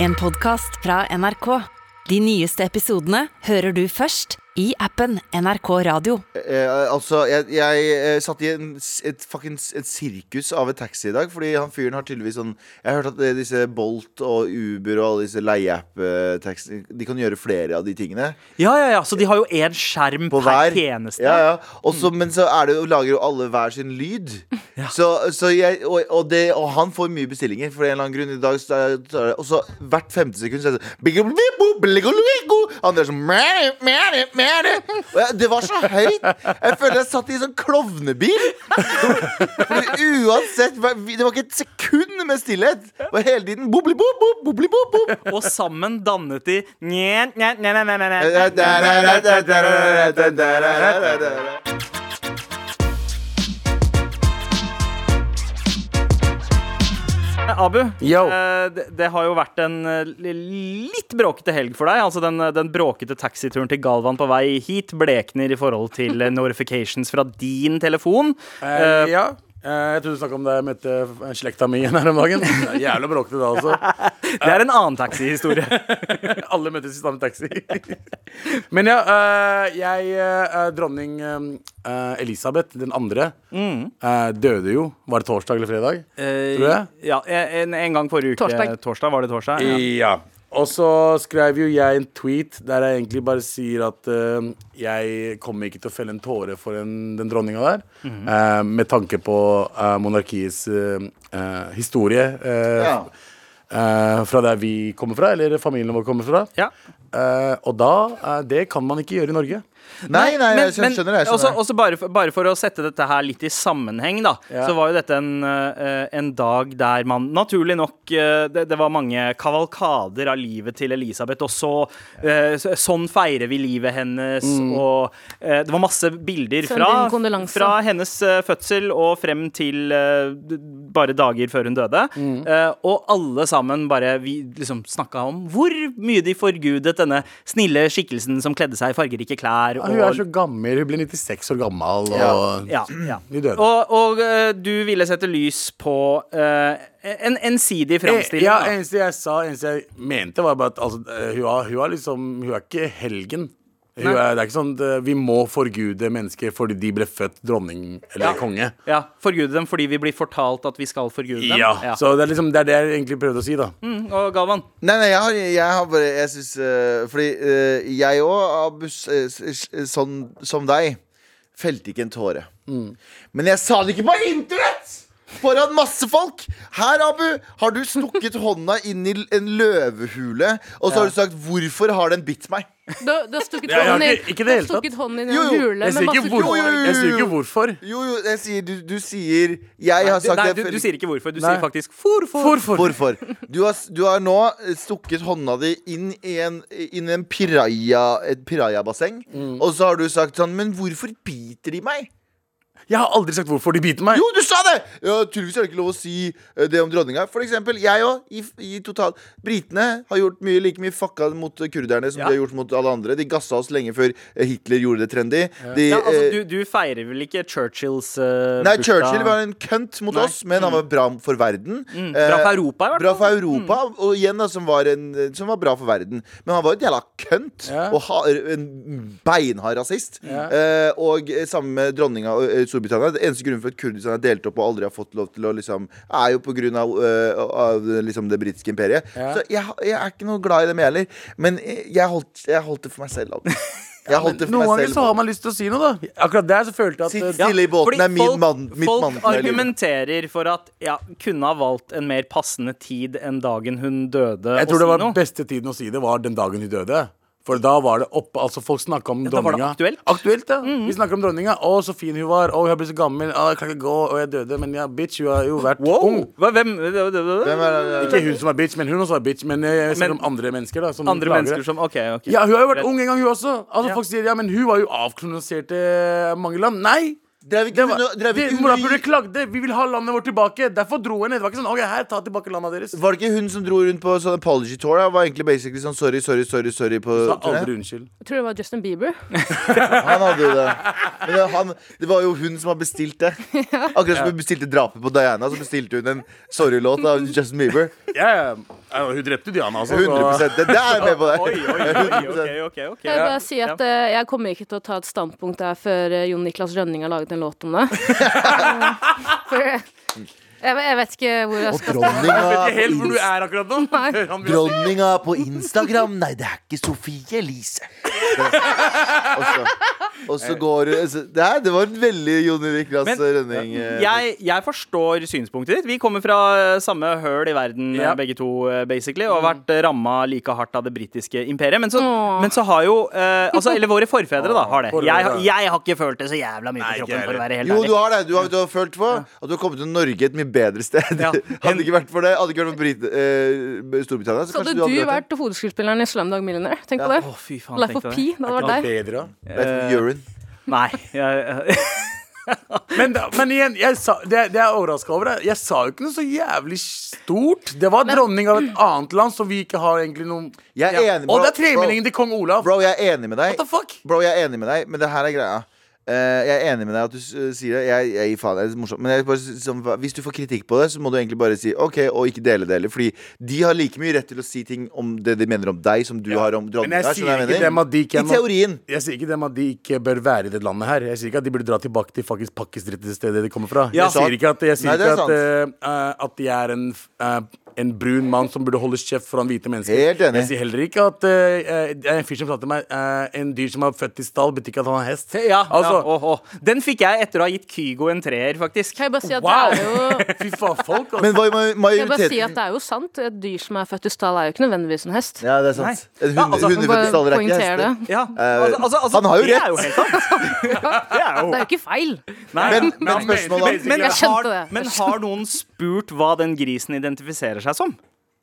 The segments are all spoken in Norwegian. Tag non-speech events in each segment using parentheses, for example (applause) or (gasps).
En podcast fra NRK. De nyeste episodene hører du først i appen NRK Radio. Eh, altså, jeg, jeg eh, satt i en, s- et fuckings et sirkus av et taxi i dag. Fordi han fyren har tydeligvis sånn Jeg har hørt at eh, disse Bolt og Uber og alle disse leieapp-taxiene De kan gjøre flere av de tingene. Ja, ja, ja, så de har jo én skjerm På per hver. tjeneste. Ja, ja. Og så- Men så er det, jo- lager jo alle hver sin lyd. Så, så jeg, og, og, det, og han får mye bestillinger for en eller annen grunn. I dag så er det, Og så hvert femte sekund så er det sånn biggo, biggo, biggo, biggo. Andre er sånn mære, mære, mære. Og jeg- Det var så høyt. Jeg føler jeg satt i en sånn klovnebil. Fordi uansett hva- vi- Det var ikke et sekund med stillhet. Det var hele tiden bobli, bob, bob, bobli, bob, bob. Og sammen dannet de Njen, njen, njen, njen, njen, Eh, njen. Hei, Abu, Yo. eh, det, det har jo vært en eh, li- litt bråkete helg for deg. Altså Den, eh, den bråkete taxituren til Galvan på vei hit blekner i forhold til eh, notifications fra din telefon. Eh, ja. Eh, jeg trodde du snakka om da jeg møtte eh, slekta mi igjen her om dagen. Det er Jævla bråkete da, (laughs) altså. Det er en annen taxihistorie. Alle møttes i samme taxi. (laughs) Men ja, eh, jeg eh, Dronning eh, Elisabeth den andre eh, døde jo. Var det torsdag eller fredag? Eh, Tror jeg. ja, en, en gang forrige uke. Torsdag. Var det torsdag? Ja. Ja. Og så skrev jo jeg en tweet der jeg egentlig bare sier at eh, jeg kommer ikke til å felle en tåre for en, den dronninga der, Mhm. eh, med tanke på eh, monarkiets eh, eh, historie eh, Ja. eh, fra der vi kommer fra, eller familien vår kommer fra. Ja. Eh, og da eh, Det kan man ikke gjøre i Norge. Nei, nei, jeg skjønner- skjønner det, jeg skjønner også, det. også bare, for, bare for å sette dette her litt i sammenheng, da, Ja. så var jo dette en, eh, en dag der man naturlig nok eh, det, det var mange kavalkader av livet til Elisabeth, og så eh, så- Sånn feirer vi livet hennes, Mm. og eh, det var masse bilder Send fra, inn kondolanser. fra hennes eh, fødsel og frem til eh, d- bare dager før hun døde. Mm. Eh, og alle sammen bare vi liksom snakka om hvor mye de forgudet denne snille skikkelsen som kledde seg i fargerike klær. Ja, hun er så gammel. Hun ble 96 år gammel. Og Ja, ja. de døde. Og, og eh, du ville sette lys på eh, en ensidig Eh, framstilling. Ja, da. eneste jeg sa, eneste jeg mente, var bare at altså, eh, hun, har, hun har liksom Hun er ikke helgen. Hun Nei. er, det er ikke sånn at vi må forgude mennesker fordi de ble født dronning eller konge. ja, Forgude dem fordi vi blir fortalt at vi skal forgude dem. Ja, Så det er liksom det, er det jeg egentlig prøvde å si, da. Mm, og Galvan, Nei, nei, jeg har, jeg har bare Jeg syns Fordi eh, jeg òg, Abus, eh, s- s- sånn som deg, felte ikke en tåre. Mm. Men jeg sa det ikke på internett! Foran masse folk! Her, Abu, har du (laughs) stukket hånda inn i l- en løvehule, og så har du sagt 'Hvorfor har den bitt meg?' Du, du har stukket Ja, ja, hånden ikke- inn ikke det Du har hele tatt. stukket hånden inn i Jo, en jo. hule Jeg sier med ikke, masse hvor, Jo, jo, jo, tårer. jeg sier ikke jo. hvorfor. Jo, jo, jeg sier Du, du sier Jeg har du, sagt nei, jeg du, du følte- sier ikke hvorfor. Du Nei. sier faktisk hvorfor. Hvorfor? Hvorfor? Du har, du har nå eh, stukket hånda di inn i en, inn i en piraya, et pirayabasseng, Mm. og så har du sagt sånn Men hvorfor biter de meg? Jeg har aldri sagt hvorfor de biter meg. Jo, du sa det! Ja, Tydeligvis er det ikke lov å si eh, det om dronninga. For eksempel, jeg òg. I, i total Britene har gjort mye, like mye fucka mot kurderne som Ja. de har gjort mot alle andre. De gassa oss lenge før eh, Hitler gjorde det trendy. De, Ja, altså, eh, du, du feirer vel ikke Churchills eh, Nei, bursdag? Churchill var en kønt mot Nei. Mm. oss, men han var bra for verden. Eh, Bra for Europa, i hvert Bra fall. for Europa, mm. og igjen da, som var, en, som var bra for verden. Men han var jo en jævla kønt, Ja. og ha, en beinhard rasist. Eh, og eh, sammen med dronninga og eh, Storbritannia. Det eneste grunnen for at Kurdistan er delt opp og aldri har fått lov til å liksom Er jo på grunn av, eh, av liksom det britiske imperiet. Ja. Så jeg, jeg er ikke noe glad i dem, jeg heller. Men eh, jeg holdt, jeg holdt det for meg selv. (laughs) Adam. Jeg holdt det for Noen meg ganger så selv. har man lyst til å si noe, da. Akkurat der så følte jeg Sitt at eh, stille i båten fordi er min folk- mann, mitt Folk mann. i livet. argumenterer for at ja, kunne ha valgt en mer passende tid enn dagen hun døde. Jeg å tror det si var noe. beste tiden å si det var den dagen hun døde. For da var det oppe, altså folk snakka om da var det dronninga. aktuelt. Mhm. Aktuelt, ja. Vi snakker om dronninga. Å, så fin hun var. Å, jeg ble så gammel. Å, jeg kan ikke gå. Å, jeg døde. Men ja, bitch, hun har jo vært Wow! ung. Hva- Hvem, hvem Oh! Hvem er det? Ikke hun som er bitch, men hun også er bitch. Men eh, jeg, jeg snakker Men- om andre mennesker, da. Som Andre klager. mennesker som OK, OK. Ja, hun har jo vært Rett. ung en gang, hun også. Altså Ja. Folk sier ja, men hun var jo avkolonisert i mange land. Nei! Drev ikke Det var, hun og- drev det, ikke hun og- Morapuler klagde. Vi vil ha landet vårt tilbake. Derfor dro hun ned. Det var ikke sånn OK, her, ta tilbake landet deres. Var det ikke hun som dro rundt på sånn apology tour? Da? Var egentlig basically sånn sorry, sorry, sorry, sorry på Sa turné? aldri unnskyld. Jeg tror det var Justin Bieber. Han hadde jo det. Men det, han, det var jo hun som har bestilt (laughs) det. Akkurat som hun bestilte drapet på Diana, så bestilte hun en sorry-låt av Justin Bieber. Ja, ja. Ja, Hun drepte Diana, altså. 100 Det der er jeg med på Oi, det. oi, oi, ok, ok, ok. Kan jeg bare si at eh, jeg kommer ikke til å ta et standpunkt der før eh, Jon Niklas Rønning har laget en låt om det. (laughs) Eh, For jeg, jeg vet ikke hvor jeg Og skal Jeg dronninga vet ikke på helt hvor du Inst- er akkurat (laughs) nå. Han blir- Dronninga på Instagram Nei, det er ikke Sofie Elise. Og så, og så går hun så, det, her, det var en veldig Jon Niklas Men- Rønning. eh, Jeg, jeg forstår synspunktet ditt. Vi kommer fra eh, samme høl i verden, eh, Ja. begge to, eh, basically, og har vært ramma like hardt av det britiske imperiet. Men så, men så har jo eh, Altså, eller våre forfedre, da, har det. forfedre. Jeg, har- jeg har ikke følt det så jævla mye Nei, på ikke kroppen, jeg for å være helt Jo, ærlig. du har det. Du har, du har følt på at du har kommet til Norge et mye bedre sted. (laughs) Ja. Hadde det ikke vært for det, hadde det ikke vært for Brit eh, Storbritannia, så, kanskje Så hadde du hadde du vært vært hovedskuespilleren i Slumdog Millionaire. Tenk på Å, det. fy faen, Life tenk of deg Pi. Det hadde vært Han deg. bedre, da. det. Vet Eh, du, urine. Nei. Jeg, Men, da, men igjen, jeg sa, det, det er overraska over. det. Jeg sa jo ikke noe så jævlig stort. Det var dronning av et annet land som vi ikke har egentlig noen Jeg er enig, Og det bro, er bro. tremenningen til kong Olav. Bro, jeg er enig med deg. What the fuck? Bro, jeg er enig med deg, men det her er greia. Eh, jeg er enig med deg at du s- eh, sier det. Jeg, jeg gir faen, det er litt morsomt. Men jeg bare, s- som, hvis du får kritikk på det, så må du egentlig bare si OK, og ikke dele det heller. Fordi de har like mye rett til å si ting om det de mener om deg, som du har om dronninga. Men jeg skjønner du sier hva ikke dem at de ikke I teorien. Jeg sier ikke dem at de ikke bør være i det landet her. Jeg sier ikke at de burde dra tilbake til faktisk pakkisdritt til stedet de kommer fra. Ja. Jeg sier ikke at, jeg sier Nei, det er ikke at, eh, eh, at de er en, eh, en brun mann som burde holde kjeft foran hvite mennesker. Helt enig. Jeg sier heller ikke at eh, eh, det er en fyr som sa til meg eh, En dyr som er født i stall, betyr ikke at han er hest. ja, ja, altså, åh, åh. Den fikk jeg etter å ha gitt Kygo en treer, faktisk. Kan jeg bare si at Wow. det (laughs) er jo (laughs) Fy faen, folk. Altså. Men hva i Kan jeg bare si majoriteten at det er jo sant. Et dyr som er født i stall, er jo ikke nødvendigvis en hest. Ja, det er sant. En hund, Ja, altså, Må hundefødt bare staller er ikke poengtere hester. det. Ja, altså, altså, altså, han har jo det rett. Er jo helt sant. Det (laughs) er jo Det er jo ikke feil. Nei, Men, men- men spørsmålet men, Jeg skjønte har, det. Jeg men har noen spurt hva den grisen identifiserer seg som?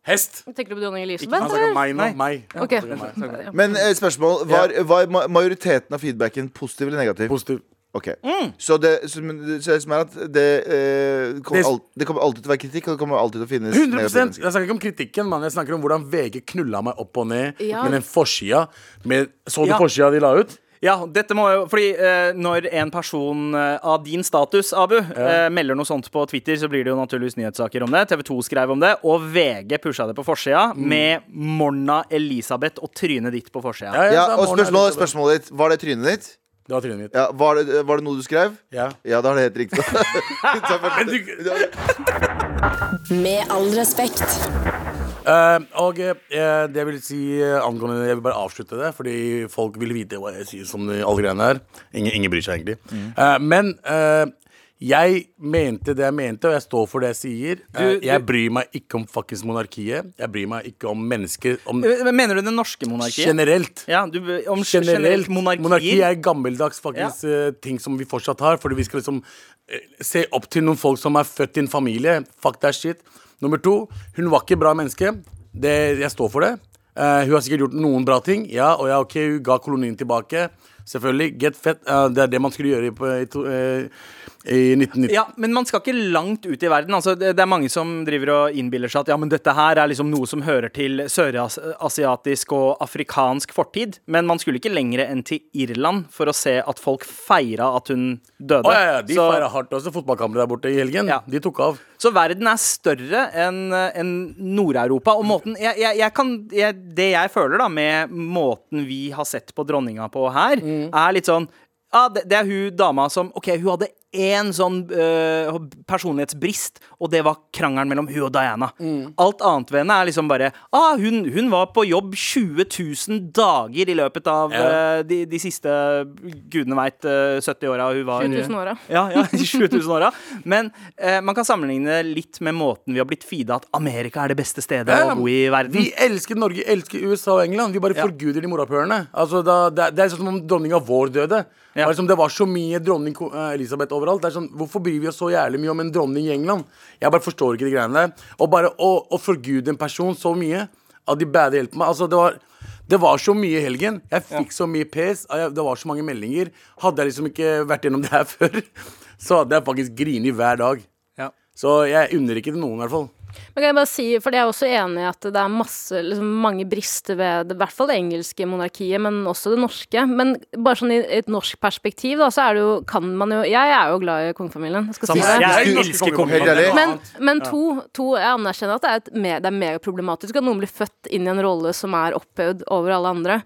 Hest. Tenker du på dronning Han Elisabeth? snakker om eller? meg nå. Meg. Han Ok. snakker om meg. Men eh, spørsmål var, var ma- majoriteten av feedbacken positiv eller negativ? (laughs) Positiv. Ok, Mm. Så det så, men- så det som er at det, eh, kommer Det- al det kommer alltid til å være kritikk, og det kommer alltid til å finnes 100 Jeg negative mennesker. snakker ikke om kritikken, mann. Jeg snakker om hvordan VG knulla meg opp og ned Ja. med den forsida. Med, så du Ja. forsida de la ut? Ja, dette må jo Fordi eh, når en person eh, av din status, Abu, eh, melder noe sånt på Twitter, så blir det jo naturligvis nyhetssaker om det. TV2 skrev om det, og VG pusha det på forsida med Morna Elisabeth og trynet ditt på forsida. jeg Ja, sa og morgen er spørsmålet, litt- spørsmålet ditt, var det trynet ditt? Det var trynet mitt. Ja, var, det, var det noe du skrev? Ja. Ja, da er det helt riktig. (laughs) (laughs) Ta først. Med all respekt. Eh, og eh, det jeg vil si eh, angående Jeg vil bare avslutte det, fordi folk vil vite hva jeg sier om alle greiene her. Ingen, ingen bryr seg egentlig. Eh, men eh, jeg mente det jeg mente, og jeg står for det jeg sier. Eh, jeg bryr meg ikke om fuckings monarkiet. Jeg bryr meg ikke om mennesker. Om Eh, Mener du det norske monarkiet? generelt. ja, du, om generelt, generelt monarki. Monarki er gammeldags faktisk eh, ting som vi fortsatt har. Fordi vi skal liksom eh, se opp til noen folk som er født i en familie. Fuck that shit. Nummer to, hun var ikke bra menneske. Det, jeg står for det. Eh, hun har sikkert gjort noen bra ting. Ja, og ja, ok, hun ga kolonien tilbake. Selvfølgelig. Get fett. Eh, det er det man skulle gjøre i, på, i, to, eh, i 1990. Ja, men man skal ikke langt ut i verden. Altså, det, det er mange som driver og innbiller seg at ja, men dette her er liksom noe som hører til sørasiatisk og afrikansk fortid. Men man skulle ikke lenger enn til Irland for å se at folk feira at hun døde. Å, ja, ja, de så, feira hardt også fotballkampene der borte i helgen. Ja. De tok av. så verden er større enn enn Nord-Europa. Og måten jeg, jeg, jeg kan, jeg, Det jeg føler da med måten vi har sett på dronninga på her, er litt sånn ja, det, det er hun dama som OK, hun hadde én sånn øh, personlighetsbrist, og det var krangelen mellom hun og Diana. Alt annet ved henne er liksom bare ah, hun, hun var på jobb 20 000 dager i løpet av Ja. øh, de, de siste gudene veit 70 åra hun var 20 000 åra. ja, (laughs) ja, de 7000 åra. Men eh, man kan sammenligne litt med måten vi har blitt feeda at Amerika er det beste stedet å bo i verden. Vi elsker Norge, elsker USA og England. Vi bare Ja. forguder de morapulerne. Altså, da- det, er- det er sånn som om dronninga vår døde. Det Ja. var som det var så mye dronning Ko- eh, Elisabeth overalt. Det er sånn, Hvorfor bryr vi oss så jævlig mye om en dronning i England? Jeg bare forstår ikke de greiene der. Og bare å, å forgude en person så mye at de bade hjelper meg Altså, det var det var så mye i helgen. Jeg fikk så mye pes. og jeg- Det var så mange meldinger. Hadde jeg liksom ikke vært gjennom det (laughs) her før, så hadde jeg faktisk grinet hver dag. Ja. Så jeg unner ikke det noen, i hvert fall. Men kan jeg bare si, for jeg er også enig i at det er masse, liksom, mange brister ved det, i hvert fall det engelske monarkiet, men også det norske. Men bare sånn i et norsk perspektiv, da, så er det jo, kan man jo Jeg er jo glad i kongefamilien. Jeg skal si Samme det. her. Jeg Jeg elsker elsker kongefamilien. Helt kongefamilien. ærlig. Men, men to, to, jeg anerkjenner at det er, et, me- det er megaproblematisk at noen blir født inn i en rolle som er opphøyd over alle andre.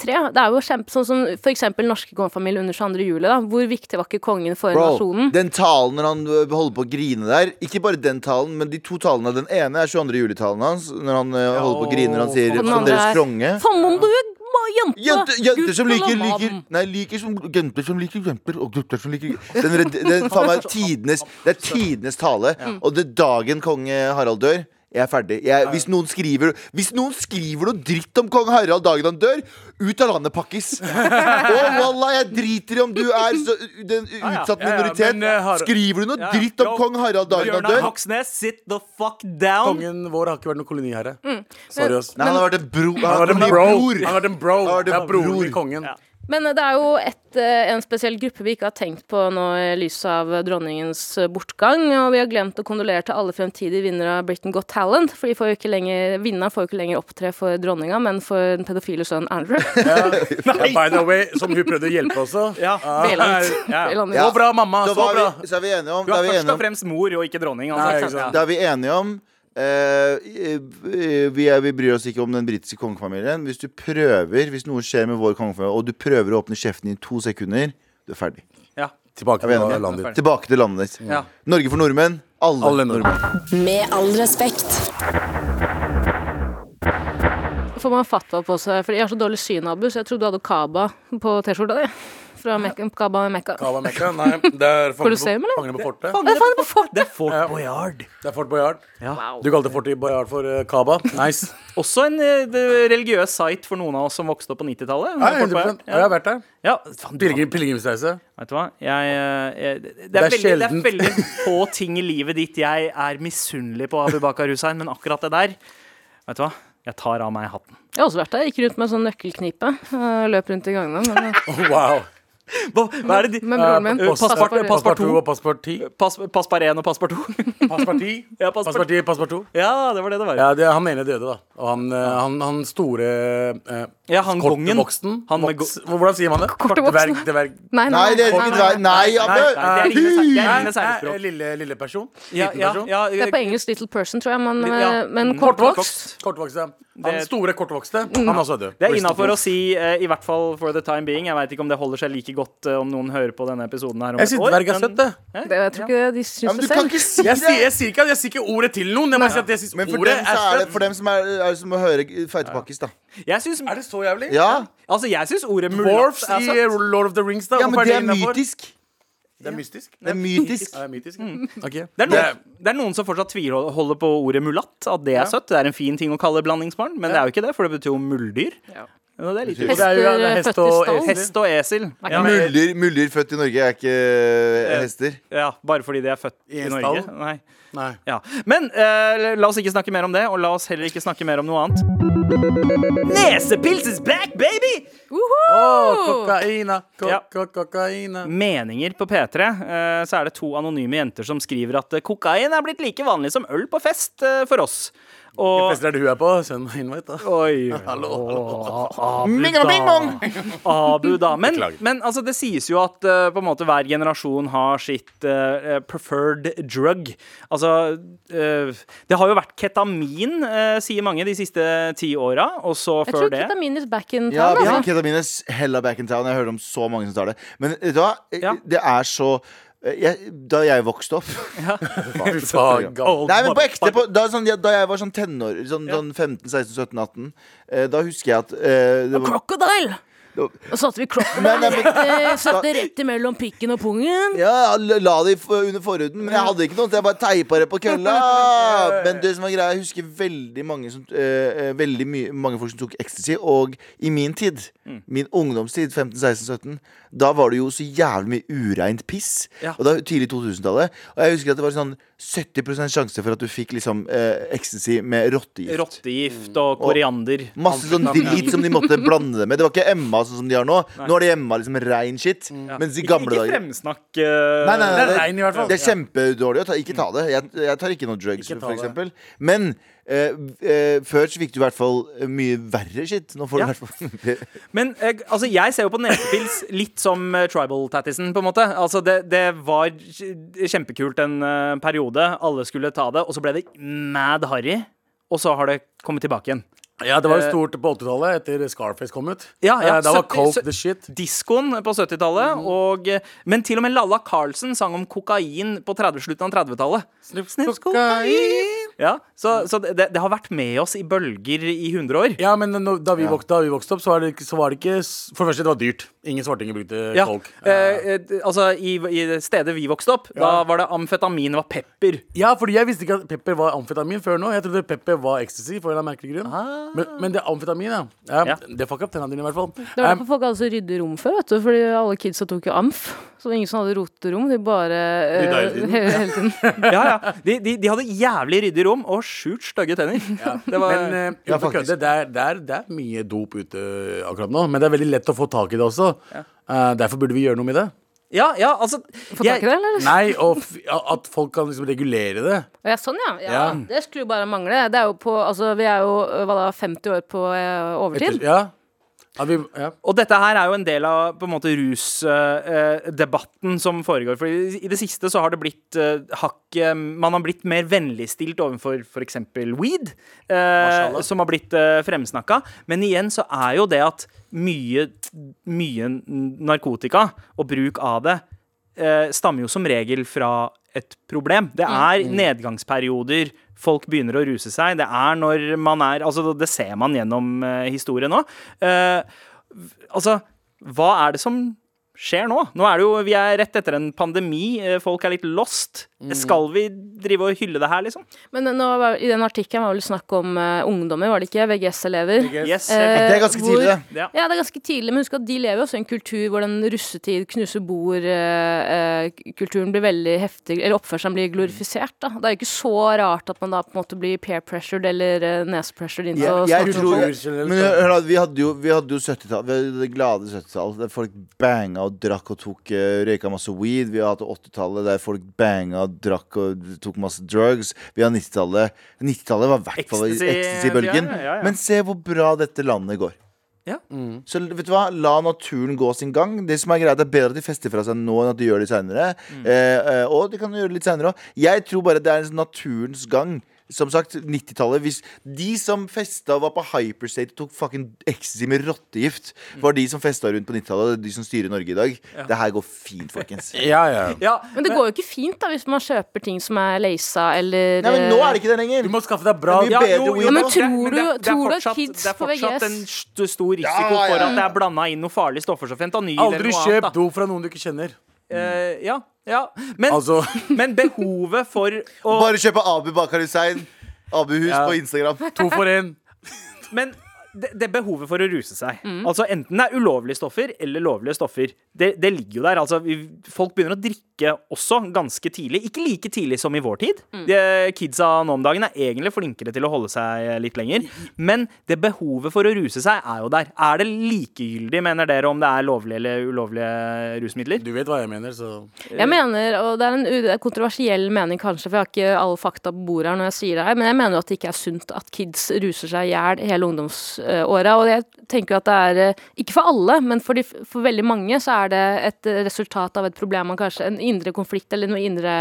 Tre, det er jo kjempe, sånn som for eksempel norske kongefamilier under 22. juli. Da. Hvor viktig var ikke kongen for Bro, nasjonen? den talen når han ø, holder på å grine der Ikke bare den talen, men de to talene Den ene er 22. juli-talen hans Når han ø, holder på å grine når han sier Og den Som andre deres er, kronge Som om du er ma- jente! Jenter, jenter som Gutt eller liker, mann. liker Nei, liker som Jenter som liker jenter Og gutter som liker den, red- den, faen meg, tidenes, Det er tidenes tale Og det er dagen kong ø, Harald dør jeg er ferdig jeg, hvis, noen skriver, hvis noen skriver noe dritt om kong Harald dagen han dør Ut av landet pakkes (laughs) Å wallah, jeg driter i om du er så, Den ja. utsatt Ja, ja, minoritet men, ø, Harald- Skriver du noe Ja, ja. dritt om Jo, kong Harald dagen han Bjørnar dør? Hoksnes, sit the fuck down! Kongen vår har ikke vært noen koloniherre. Sorry, ass. Nei, han har vært en bro Han har vært en en bro. bror. Han har vært en bro. Han har vært Det en er broren bror. til kongen. Ja. Men det er jo et, eh, en spesiell gruppe vi ikke har tenkt på nå i lys av dronningens eh, bortgang. Og vi har glemt å kondolere til alle fremtidige vinnere av Britain Got Talent. For de får jo ikke lenger, vinneren får jo ikke lenger opptre for dronninga, men for den pedofile sønnen Andrew. Ja, by the way, som hun prøvde å hjelpe også. Ja. ja. Eller andre. Så bra, mamma. Da Så var bra. vi, så er vi enige om Du Da er er vi først enige om, og fremst mor og ikke dronning. Altså. Nei, ikke ikke sant? sant. da er vi, enige om eh, eh, vi, er, vi bryr oss ikke om den britiske kongefamilien. Hvis du prøver, hvis noe skjer med vår kongefamilie, og du prøver å åpne kjeften i to sekunder, du er ferdig. Ja. Tilbake Er vi enige? til landet ditt. Tilbake til landet ditt. Ja. Norge for nordmenn. Alle. Alle nordmenn. Med all respekt. Får man fatwa på seg, for jeg har så dårlig syn, Abu, så jeg trodde du hadde Kaba på T-skjorta di. Fra Mekka, Kaba i Mekka. Kaba Mekka? Nei, det er Colosseum, Fangene eller? på- Fangene på fortet. Å, det er faen på fortet! Det er Fort Ja. Boyard. Det er Fort Boyard. Wow. Du kalte Fort Boyard for eh, Kaba. Nice. Også en eh, det- religiøs site for noen av oss som vokste opp på 90-tallet. Nei, 100%. Ja, Jeg Ja. har vært der. Ja, faen, du- Pilegrim- Pilegrimsreise. Vet du hva? Jeg, eh, jeg, det, det, Det er veldig, er det er sjeldent. veldig (laughs) få ting i livet ditt jeg er misunnelig på Abu Bakar Hussein, men akkurat det der Vet du hva? Jeg tar av meg hatten. Jeg har også vært der. Gikk rundt med en sånn nøkkelknipe. eh, Løp rundt i gangene. Men, Oh, wow. Hva, hva er det de men broren min Eh, pass- passet passport- for- Passport to og passport ti. Pass, passpar 1 og passpar 2. Passport ti, Ja, passport- passport ti, passport to. (laughs) Ja, det var det det var. Ja, det, han ene døde, da. Og han, eh, han, han store eh, Ja, han korte kongen. voksen. Han med Voks, hvordan sier man det? Korte Dverg, voksen. dverg. Nei, Nei, det er nei, ikke nei, dverg. nei. Nei, Abbe! Nei, det er Ringenes herre- det er Ringenes Eh, herrespråk. Lille, lille person. Ja, Liten ja, person. ja, Det er på engelsk 'little person', tror jeg, men, Ja. eh, men Mm. kortvokst. Kortvokste. Han Det- store kortvokste. Han også er død. Det er innafor å si, eh, i hvert fall for the time being. Jeg veit ikke om det holder seg like godt eh, om noen hører på denne episoden her om et Jeg sier år, dverg er men- søtt, det. Det, jeg tror ikke de Ja, syns men det du kan selv. ikke si Jeg sier, det! jeg sier ikke, jeg sier ikke ordet til noen. Jeg bare sier at jeg Men syns for ordet dem, så er er det, for søtt. dem som er, er det som å høre Feitepakkis, da. Jeg syns Er det så jævlig? Ja. altså, jeg syns ordet mulatt Dwarfs er i søtt. Lord of the Rings, da. ja, men Hvorfor det er innenfor? mytisk. Det er mystisk. Det er mytisk. Ja, det er mytisk. Mm. Ok. Det er, Det noen, det er noen som fortsatt tviholder på ordet mulatt. At det er søtt. Det er en fin ting å kalle blandingsbarn, men det er jo ikke det, for det betyr jo mulddyr. Og det er litt Betyr- Og det Hester er jo- det er hest født i og eh, stall. hest. Hest og esel. Ja, men- Muldyr, muldyr født i Norge er ikke eh, hester. ja, bare fordi de er født I i en Norge. stall? Nei. Nei. Ja. Men eh, la oss ikke snakke mer om det, og la oss heller ikke snakke mer om noe annet. Nesepils is back, baby! Oh. Åh, kokaina, ko- Ja. ko- kokaina. meninger på P3, eh, så er det to anonyme jenter som skriver at eh, kokain er blitt like vanlig som øl på fest eh, for oss. Hvilken Og fest er det hun er på? Send meg invite, da. Oi. Ming, ming, mong. Abu, da. Men, Beklager. men altså, det sies jo at eh, på en måte hver generasjon har sitt eh, preferred drug. Altså eh, Det har jo vært ketamin, eh, sier mange, de siste ti åra, og så Jeg før tror det ketamin is back in Ja, town. ja. altså. ketamin er hella back in town. Jeg hører om så mange som tar det. Men vet du hva? Ja. Det er så eh, jeg, Da jeg vokste opp Fy faen, gal. Nei, men på ekte på, da, sånn, ja, da jeg var sånn tenår, sånn, sånn 15-16-17-18, eh, da husker jeg at eh, det var, Crocodile! Og satte vi Nei, nei, crocodile men- rett, eh, satte rett imellom pikken og pungen. Ja, jeg la det i f- under forhuden, men jeg hadde ikke noe, så jeg bare teipa det på (laughs) kølla. Men det som var greia, jeg husker veldig mange som eh, eh, Veldig mye, mange folk som tok ecstasy, og i min tid, Mm. min ungdomstid, 15-16-17, da var det jo så jævlig mye ureint piss. Ja. Og da tidlig 2000-tallet. Og jeg husker at det var sånn 70 sjanse for at du fikk liksom eh, ecstasy med rottegift. sånn Rottegift og koriander. Masse sånn drit som de måtte blande det med. Det var ikke Emma sånn som de har nå. Nå er det hjemme liksom rein shit. Mens i gamle Mm. ikke dager fremsnakk. eh, Nei, nei, nei, Det er rein i hvert fall. Det er kjempedårlig å ta. Ikke ta det. Jeg, jeg tar ikke noe drugs, Ikke ta for det. eksempel. Men eh, eh, før så fikk du i hvert fall eh, mye verre shit. Nå får Ja. du i hvert fall (laughs) Men eh, altså, jeg ser jo på nesepils litt som eh, tribal-tattisen, på en måte. Altså, det, det var kj- kjempekult en eh, periode. Alle skulle ta det, og så ble det mad harry. Og så har det kommet tilbake igjen. Ja, det var jo Eh, stort på 80-tallet, etter Scarface kom ut. Ja, ja, Eh, Da var 70 coke the shit. Diskoen på 70-tallet, Mhm. og eh, Men til og med Lalla Carlsen sang om kokain på 30, slutten av 30-tallet. Snips, Kokain. Ja, så, så det, det har vært med oss i bølger i 100 år. Ja, men nå- da vi, vokste, da vi vokste opp, så var det, ikke- så var det ikke s- For det første, det var dyrt. Ingen svartinger brukte Ja. coke. Eh, eh, altså, i, I det stedet vi vokste opp, da var det amfetamin var pepper. Ja, fordi jeg visste ikke at pepper var amfetamin før nå. Jeg trodde pepper var ecstasy. For en eller annen merkelig grunn men, men det er amfetamin, ja. ja, Ah. Ja. Det fucka opp tenna dine, i hvert fall. Det var Um, derfor folk hadde så ryddig rom før, vet du. Fordi alle kidsa tok jo amf. Så det var ingen som hadde roterom. De bare eh, Rydda hele (laughs) tiden. hele, hele tiden. Ja, ja. De, de, de hadde jævlig ryddig rom og sjukt stygge tenner. Det var, Men eh, Ja, uten å faktisk. kødde, det, er, det, er, det er mye dop ute akkurat nå, men det er veldig lett å få tak i det også. Eh, derfor burde vi gjøre noe med det. ja, ja, altså Få tak i det, eller? Nei, og f at folk kan liksom regulere det. Ja, sånn, ja. ja. Ja. Det skulle jo bare mangle. Det er jo på, altså, vi er jo eh, hva da, 50 år på eh, Etter, overtid. ja. At vi, ja. Og dette her er jo en del av på en måte rusdebatten som foregår. For i, i det siste så har det blitt eh, hakk eh, Man har blitt mer vennligstilt overfor f.eks. weed, eh, som har blitt uh, fremsnakka. Men igjen så er jo det at mye, mye narkotika og bruk av det eh, stammer jo som regel fra et problem. Det er nedgangsperioder. Folk begynner å ruse seg. Det er når man er Altså, det ser man gjennom eh, historien nå. Eh, altså, hva er det som skjer nå? Nå er det jo, Vi er rett etter en pandemi. eh, Folk er litt lost. Skal vi drive og hylle det her, liksom? Men nå, var- i den artikkelen var det vel snakk om eh, ungdommer, var det ikke? VGS-elever. Yes, Eh, Det er ganske hvor- tidlig, det. Ja. Ja, det er ganske tidlig, men husk at de lever jo også i en kultur hvor den russetid, knuse bord-kulturen eh, blir veldig heftig, eller oppførselen blir glorifisert, da. Det er jo ikke så rart at man da på en måte blir peer-pressured eller eh, nese-pressured inn sånn. til å Jeg, jeg snakke om tror det. Men sånn. hør, hør da, vi hadde jo, vi hadde jo 70-tall Vi hadde det glade 70-tall Der folk banga og drakk og tok eh, Røyka masse weed Vi hadde 80-tallet der folk banga og drakk og tok masse drugs Vi hadde 90-tallet 90-tallet var i hvert fall Ecstasy- ecstasy-bølgen ja, ja, ja. Men se hvor bra dette landet går Ja. Så vet du hva, la naturen gå sin gang Det som er greit er bedre at de fester fra seg nå Enn at de gjør det senere Mm. eh, eh, Og de kan gjøre det litt senere også Jeg tror bare det er en sånn naturens gang som sagt, 90-tallet hvis- De som festa og var på hyperstate Og tok fucking ecstasy med rottegift Mm. Var de som festa rundt på 90-tallet Det er de som styrer Norge i dag Det her går fint, folkens Nei, (laughs) Ja, ja. Ja, Men det går jo ikke fint da, hvis man kjøper ting som er leisa eller men nå er det ikke det lenger Du må skaffe deg bra Det er mye bedre weed Ja, men nå. tror men det- du- det er tror du at fortsatt- kids Det er på fortsatt VGS en st- stor risiko Ja, ja, for ja. at det er blanda inn noe farlig stoffer som fentanyl eller Aldri noe kjøp annet. da. dop fra noen du ikke kjenner. Eh, ja, ja. Men, Altså (laughs) men behovet for å Bare kjøpe Abu Bakar Hussein Abu-hus Ja. på Instagram to for én. (laughs) Men det, det behovet for å ruse seg. Mm. Altså Enten det er ulovlige stoffer eller lovlige stoffer. Det, det ligger jo der. Altså vi, Folk begynner å drikke også ganske tidlig. Ikke like tidlig som i vår tid. Mm. De, eh, kidsa nå om dagen er egentlig flinkere til å holde seg eh, litt lenger. Men det behovet for å ruse seg er jo der. Er det likegyldig, mener dere, om det er lovlige eller ulovlige rusmidler? Du vet hva jeg mener, så Jeg mener, og det er en u- det er en kontroversiell mening kanskje, for jeg har ikke alle fakta på bordet her når jeg sier det her, men jeg mener jo at det ikke er sunt at kids ruser seg i hjel hele ungdomsåra. Og jeg tenker jo at det er, eh, ikke for alle, men for, de, f- for veldig mange så er det et eh, resultat av et problem, man kanskje en indre konflikt eller noen indre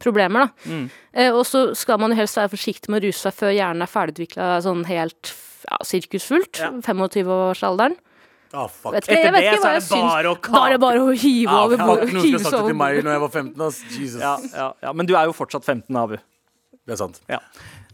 problemer, da. Mm. Eh, og så skal man jo helst være forsiktig med å ruse seg før hjernen er ferdigutvikla sånn helt f- ja, sirkusfullt, Ja. 25-årsalderen. ah, fuck. Vet ikke, Etter jeg vet det ikke så hva er det bare å jeg syns. Da er det kape. bare å hive Ah, over fuck, bordet. noen skulle hive sagt seg (laughs) det over til meg bordet. når jeg var 15. Ass. Jesus. Ja, ja, ja. Men du er jo fortsatt 15, Abu. Det er sant. Ja.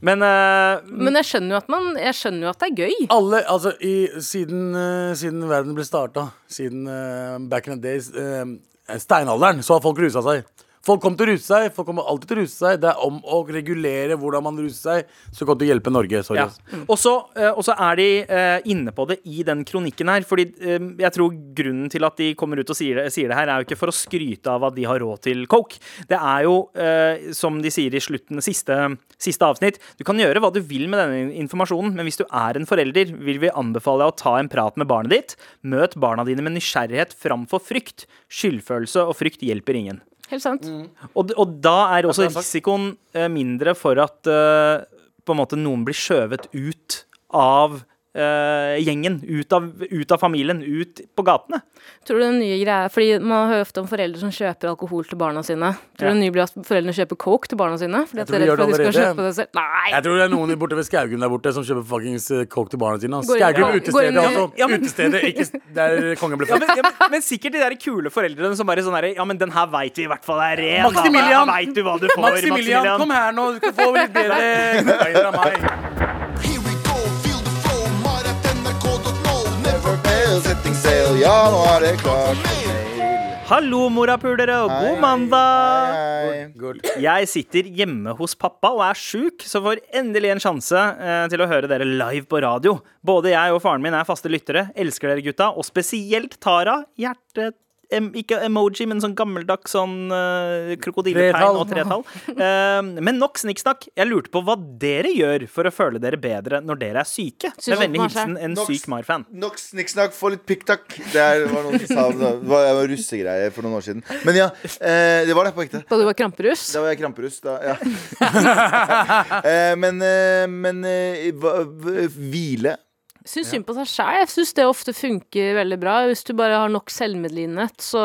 Men eh, Mm. Men jeg skjønner jo at, man, jeg skjønner jo at det er gøy. Alle, altså i, siden, eh, siden verden ble starta, siden eh, back in the days, eh, steinalderen, så har folk rusa seg. Folk kommer til å ruse seg. Folk kommer alltid til å ruse seg. Det er om å regulere hvordan man ruser seg. Så godt å hjelpe Norge. Sorry. Ja. ass. Og så eh, og så er de eh, inne på det i den kronikken her. Fordi eh, jeg tror grunnen til at de kommer ut og sier det, sier det her, er jo ikke for å skryte av at de har råd til coke. Det er jo, eh, som de sier i slutten, siste, siste avsnitt, du kan gjøre hva du vil med denne informasjonen, men hvis du er en forelder, vil vi anbefale deg å ta en prat med barnet ditt. Møt barna dine med nysgjerrighet framfor frykt. Skyldfølelse og frykt hjelper ingen. Helt sant. Mm. Og, d- og da er også bra sagt. risikoen eh, mindre for at eh, på en måte noen blir skjøvet ut av eh, gjengen. Ut av, ut av familien, ut på gatene. Tror du den nye greia Fordi man hører ofte om foreldre som kjøper alkohol til barna sine. Tror du Ja. det nye blir at foreldrene kjøper coke til barna sine? Fordi at tror de er de redd for gjør at de det skal allerede. kjøpe det selv? Nei! Jeg tror det er noen i- borte ved Skaugum der borte som kjøper fuckings eh, coke til barna sine. ass. Går inn- Skaugum går- går inn utestedet, i- altså. Ja, men- Utestedet, ikke s- der kongen ble Ja, født. men, ja, men, men sikkert de der kule foreldrene som bare sånn her Ja, men den her veit vi i hvert fall er ren. da. Maximilian! Da vet du hva du får, Maximilian, Maximilian. kom her nå. Du skal få litt bedre kokain av meg. Here we go, feel the flow, mad at NRK.no. Never Propel, setting sail, ja, nå er det klart. Hallo, morapulere, og god Hei, mandag. hei. Jeg sitter hjemme hos pappa og er sjuk, så får endelig en sjanse eh, til å høre dere live på radio. Både jeg og faren min er faste lyttere. Elsker dere, gutta. Og spesielt Tara. Hjerte... Em, ikke emoji, men sånn gammeldags sånn eh, krokodilletegn og tretall. Eh, men nok snikksnakk. Jeg lurte på hva dere gjør for å føle dere bedre når dere er syke. Med Syns vennlig at den hilsen en Nok- syk Mar-fan. Nok snikksnakk, få litt pikktakk. Det er- var noen som sa om det. Det var, det var russegreier for noen år siden. Men ja, eh, det var det på ekte. Da du var kramperus? Da var jeg kramperus. Da, ja. (laughs) eh, men eh, men eh, hva- v- hvile Syns synd på seg sjæl. Jeg syns det ofte funker veldig bra. Hvis du bare har nok selvmedlidenhet, så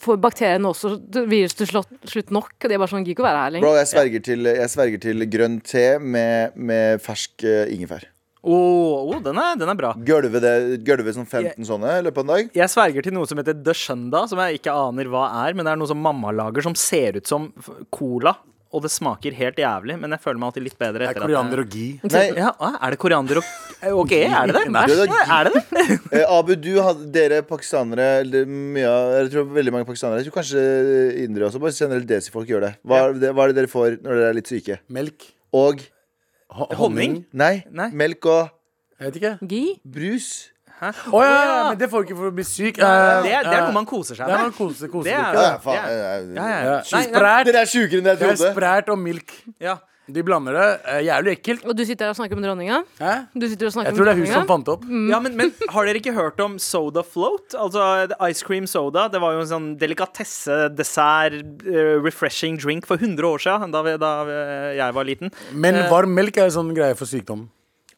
får bakteriene også virus til slott- slutt nok. Og de er bare sånn, gidder ikke å være her lenger. Bro, jeg sverger til, jeg sverger til grønn te med, med fersk eh, ingefær. Å, oh, den, er- den er bra. Gølve, det, gølve sånn 15 sånne i løpet av en dag. jeg sverger til noe som heter The Shunda, som jeg ikke aner hva er, men det er noe som mamma lager som ser ut som f- cola, og det smaker helt jævlig, men jeg føler meg alltid litt bedre Det er etter koriander og ghee. Nei, Ja, å, er det koriander og Eh, OK, er det det? Nei. Æsj, Er det (laughs) det? eh, Abu, du hadde, dere pakistanere eller mye, av- Jeg tror veldig mange pakistanere Jeg tror kanskje eh, indere også, bare generelt desi-folk gjør det. Hva, er det. hva er det dere får når dere er litt syke? Melk. Og Ho- Honning? nei, Nei. melk og Jeg vet ikke. Gi? brus. Å ja, men det får du ikke for å bli syk. Eh, Det, er- det er eh, noe man koser seg det er med. man kose, kose Det er- drikke. Ja, faen, Ja. eh, Ja, ja. Ja. Nei, nei, Sprært. Dere er sjukere enn jeg Det er trodde. sprært og milk. ja. De blander det. Eh, Jævlig ekkelt. Og du sitter her og snakker om dronninga? Hæ? Du sitter og snakker Jeg tror det er om hun som fant det opp. ja Mm. men, men har dere ikke hørt om soda float? Altså ice cream soda. Det var jo en sånn delikatesse, dessert, eh, refreshing drink for 100 år siden, da, vi, da eh, jeg var liten. Men Eh. varm melk er en sånn greie for sykdom.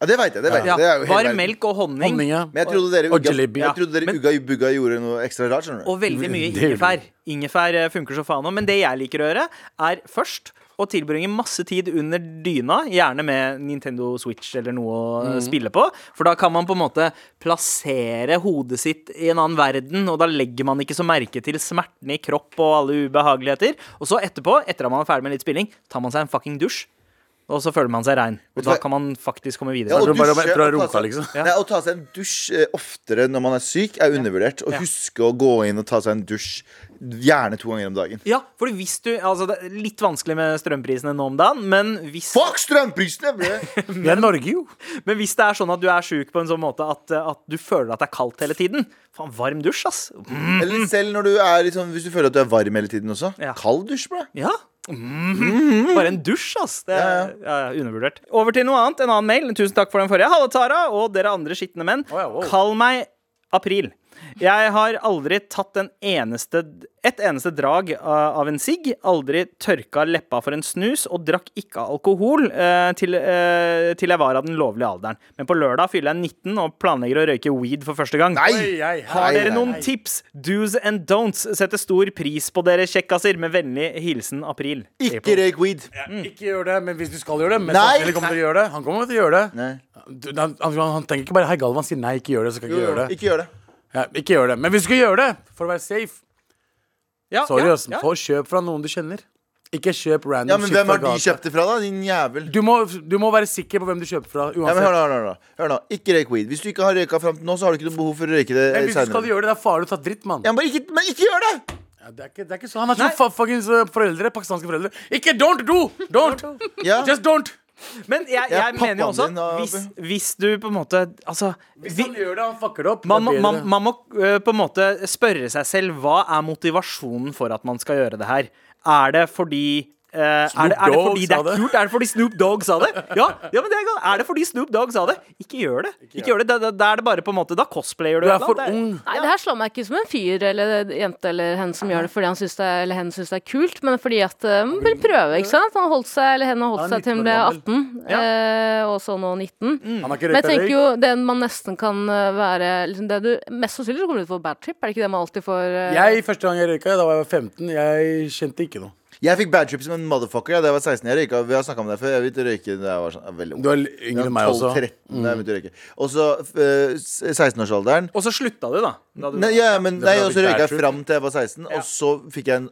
Ja, det veit jeg. det vet Ja, jeg Det er jo helt Varm verden. melk og honning. Honning, ja. Men jeg trodde dere Og Ugga, jalebi, ja. jeg trodde dere Men- Ugga Bugga gjorde noe ekstra rart. skjønner du Og veldig mye Det gjør ingefær. Ingefær eh, funker så faen òg. Men det jeg liker å gjøre, er først å tilbringe masse tid under dyna, gjerne med Nintendo Switch eller noe å Mm. eh, spille på. For da kan man på en måte plassere hodet sitt i en annen verden, og da legger man ikke så merke til smertene i kropp og alle ubehageligheter. Og så etterpå, etter at man er ferdig med litt spilling, tar man seg en fucking dusj. Og så føler man seg rein. Og du hva- da kan man faktisk komme videre. Ja, Jeg tror bare- jeg tror jeg og ta seg- runka, liksom. Nei, Å ta seg en dusj eh, oftere når man er syk, er undervurdert. Å Ja. huske å gå inn og ta seg en dusj gjerne to ganger om dagen. Ja, for hvis du Altså, det er litt vanskelig med strømprisene nå om dagen, men hvis Fuck strømprisene! (laughs) bre! Vi er Norge, jo. Men hvis det er sånn at du er sjuk på en sånn måte at, at du føler at det er kaldt hele tiden Faen, varm dusj, ass. Mm. Eller selv når du er litt sånn, hvis du føler at du er varm hele tiden også. Ja. Kald dusj, bro. Ja. Mhm. Bare en dusj, ass. Det er ja, ja, undervurdert. Over til noe annet. En annen mail. Tusen takk for den forrige. Halla, Tara og dere andre skitne menn. ja, wow. Kall meg April. Jeg har aldri tatt en eneste, et eneste drag uh, av en sigg. Aldri tørka leppa for en snus, og drakk ikke alkohol eh, til, eh, til jeg var av den lovlige alderen. Men på lørdag fyller jeg 19 og planlegger å røyke weed for første gang. Nei! Oi, ei, ei. Har Nei, dere nei, noen nei. tips? Do's and don'ts. Setter stor pris på dere, kjekkaser. Med vennlig hilsen April. Ikke røyk weed. Ikke gjør det, men hvis du skal gjøre det men Nei! sannsynlig kommer til å gjøre det. Han kommer til å gjøre det. Nei. Du, han, han, han tenker ikke bare Hei, Galvan sier nei, ikke gjør det. Så kan jeg ikke gjøre det. Ikke gjør det. Ja, ikke gjør det. Men hvis du skal gjøre det, for å være safe Ja, Sorry, ja, ass. ja. Få kjøp fra noen du kjenner. Ikke kjøp random Ja, men shit hvem fra har de gata. kjøpt det fra, da? Din jævel. Du må, du må være sikker på hvem du kjøper fra. Ja, men hør uansett. nå, hør nå, hør nå. Hør nå. Ikke røyk weed. Hvis du ikke har røyka fram til nå, så har du ikke noe behov for å røyke det men hvis du skal seinere. gjøre det, det er farlig å ta dritt, mann. Ja, men, bare ikke- men ikke gjør det! Ja, Det er ikke, det er ikke sånn. Han har ikke fa- fuckings eh, foreldre, pakistanske foreldre. Ikke don't do! Don't! Ja. Just don't! Men jeg, Ja, jeg mener jo også pappaen din og- at hvis, hvis du på en måte Altså Hvis vi- han gjør det, han fucker det opp. man, må- det er man, bedre. man må øh, på en måte spørre seg selv hva er motivasjonen for at man skal gjøre det her. Er det fordi øh, er, det, er det Dogg fordi det sa er det. kult? Er det fordi Snoop Dogg sa det? Ja, ja men det er, godt. er det fordi Snoop Dogg sa det? Ikke gjør det. Ikke gjør det. Da, da, da er det bare på en måte Da cosplayer du. et du er eller for annet. ung. Nei, det her slår meg ikke som en fyr eller jente eller henne som gjør det fordi han syns det, eller henne syns det er kult, men fordi at eh, man vil prøve, ikke sant? Han holdt seg, eller henne holdt Han er seg til 19 hun ble år 18, eh, og så nå 19. Mm. Han har ikke Men jeg røykt en tenker røyk. jo det man nesten kan eh, være liksom det du, Mest sannsynlig så kommer du til å få bad trip, er det ikke det man alltid får? eh, Jeg, første gang jeg røyka, da var jeg 15. Jeg kjente ikke noe. Jeg fikk bad trip som en motherfucker. Ja, da jeg var 16 jeg røyka. Vi har snakket om det før. Jeg begynte å røyke da jeg var sånn, veldig ung. Du er yngre enn meg også. 12-13 da jeg begynte å røyke. Og så eh, 16-årsalderen. Og så slutta du, da. da du, Nei, ja, men Det er nei, bra og du så fikk røyka bad jeg trip. fram til jeg var 16, og så fikk jeg en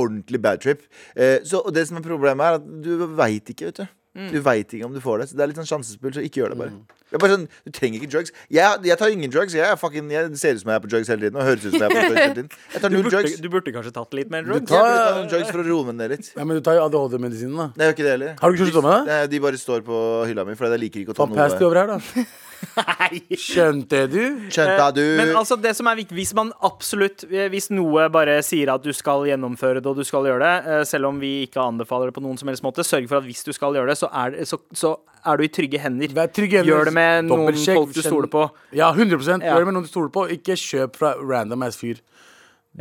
ordentlig bad trip. Eh, så, og det som er problemet, er at du veit ikke, vet du. Mm. Du veit ikke om du får det. Så det er litt sånn sjansespill, så ikke gjør det, bare. Det er bare sånn, Du trenger ikke drugs. Jeg, jeg tar ingen drugs. Jeg, er fucking, jeg ser ut som jeg er på drugs hele tiden. Og høres ut som jeg er på drugs hele tiden. Jeg tar du, null burde, drugs. du burde kanskje tatt litt mer Jeg drugs. burde ta noen drugs for å roe meg ned litt. Nei, men du tar jo ADHD-medisinen, da. Nei, jeg gjør ikke det heller. Har du ikke sluttet med det? Nei, de bare står på hylla mi, for jeg liker ikke å ta Faen, pass de noe. over (laughs) her, da. Skjønte du? Eh, Skjønte du? Men altså det som er viktig, hvis man absolutt eh, Hvis noe bare sier at du skal gjennomføre det og du skal gjøre det, eh, selv om vi ikke anbefaler det på noen som helst måte, sørg for at hvis du skal gjøre det, så er, det- så, så er du i trygge hender. Vær trygg, Jens. Gjør det med noen Dobbeltsjekk, folk du kjenn- stoler på. Ja, 100 Ja. Gjør det med noen du stoler på. Ikke kjøp fra random ass fyr.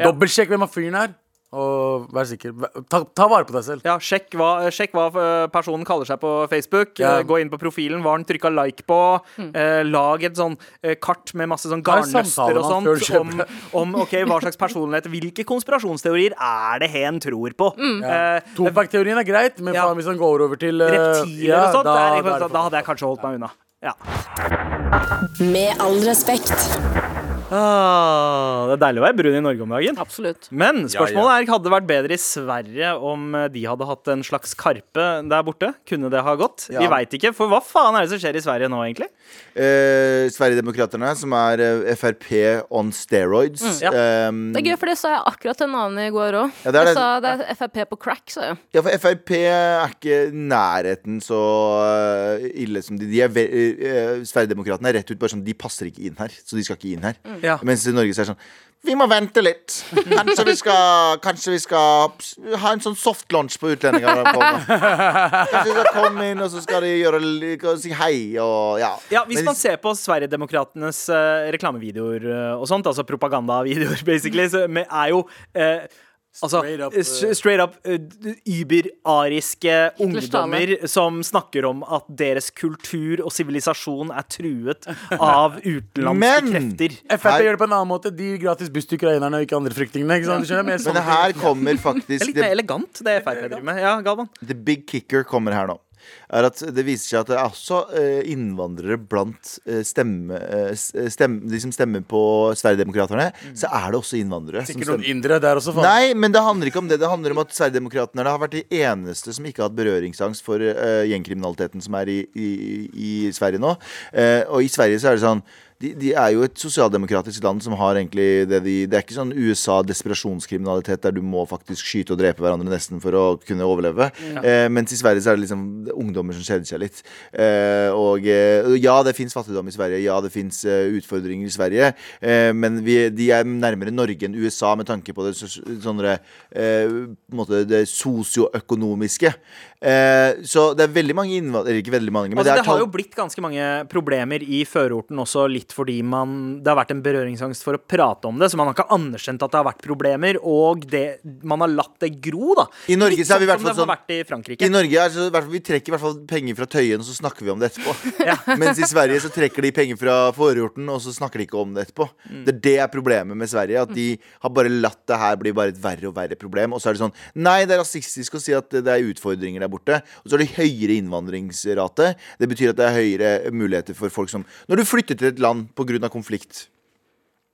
Dobbeltsjekk hvem av fyren er, og vær sikker. Vær- Ta, ta vare på deg selv. Ja, sjekk hva, eh, sjekk hva eh, personen kaller seg på Facebook. Ja. Eh, Gå inn på profilen, hva han trykka like på. Eh, Lag et sånn eh, kart med masse sånn Ta en garnnøster og samtale med han før sånt du om, kjøper. om ok, hva slags personlighet Hvilke konspirasjonsteorier er det hen tror på? Eh, Tobakk-teorien er greit, men Ja. faen, hvis han går over til eh, reptiler ja, og sånt. Da, da- er da jeg, er det da, da hadde jeg kanskje holdt meg unna. Ja. Med all respekt. Ah, det er deilig å være brun i Norge om dagen. Absolutt. Men spørsmålet er hadde det vært bedre i Sverige om eh, de hadde hatt en slags karpe der borte? Kunne det ha gått? Vi veit ikke, for hva faen er det som skjer i Sverige nå, egentlig? Eh, Sverigedemokraterna, som er eh, Frp on steroids. Mm, Ja. Ehm, Det er gøy, for det sa jeg akkurat til en annen i går òg. Ja, det er det. Jeg sa det er Frp på crack, sa jeg. Ja, for Frp er ikke i nærheten så øh, ille som de, de er. ve- øh, Sverigedemokraterna er rett ut bare sånn De passer ikke inn her, så de skal ikke inn her. Ja. Mens i Norge så er det sånn Vi må vente litt. Kanskje vi skal, kanskje vi skal ps- ha en sånn soft launch på utlendinger. når de kommer. Kanskje de skal komme inn, og så skal de gjøre, li- og si hei og ja. Ja, Hvis Men man ser på Sverigedemokraternes eh, reklamevideoer eh, og sånt, altså propagandavideoer, (laughs) basically, så med- er jo eh, Altså, Straight up, eh, s- straight up, eh, d- überariske ungdommer som snakker om at deres kultur og sivilisasjon er truet (laughs) av utenlandske Men- krefter. Frp Her- gjør det på en annen måte. De gir gratis buss til ukrainerne, og ikke andre flyktningene. Ikke sant? Du skjønner? Mer men sånn. det her kommer Det er faktisk litt mer det, elegant, det Frp driver med. Ja, Galvan. The big kicker kommer her nå. Er at Det viser seg at det er også eh, innvandrere blant eh, stemme, eh, s- stem- de som stemmer på Sverigedemokraterna. Så er det også innvandrere. Som Mm. Sikkert noen stemmer. indre der også, faen. Nei, men det handler ikke om det. Det handler om at Sverigedemokraterna har vært de eneste som ikke har hatt berøringsangst for eh, gjengkriminaliteten som er i, i, i Sverige nå. Eh, og i Sverige så er det sånn de, de er jo et sosialdemokratisk land som har egentlig det de Det er ikke sånn USA-desperasjonskriminalitet der du må faktisk skyte og drepe hverandre nesten for å kunne overleve. Eh, mens i Sverige så er det liksom ungdommer som kjeder seg litt. Eh, og eh, ja, det fins fattigdom i Sverige. Ja, det fins eh, utfordringer i Sverige. Eh, men vi, de er nærmere Norge enn USA med tanke på det, sos- sånne, eh, på en måte det sosioøkonomiske. Eh, så det er veldig mange innvandrere Eller ikke veldig mange, men Altså, det det er har jo tall- blitt ganske mange problemer i førorten også, litt fordi man, det har vært en berøringsangst for å prate om det, så man har ikke anerkjent at det har vært problemer, og det, man har latt det gro, da. I Norge Litt så er vi i hvert sånn fall som det har vært i Frankrike. I Norge er så, i hvert fall- Vi trekker i hvert fall penger fra Tøyen, og så snakker vi om det etterpå. (laughs) Mens i Sverige så trekker de penger fra forhjorten, og så snakker de ikke om det etterpå. Det er det er problemet med Sverige. At de har bare latt det her bli bare et verre og verre problem. Og så er det sånn Nei, det er rasistisk å si at det er utfordringer der borte. Og så har de høyere innvandringsrate. Det betyr at det er høyere muligheter for folk som Når du flytter til et land pga. konflikt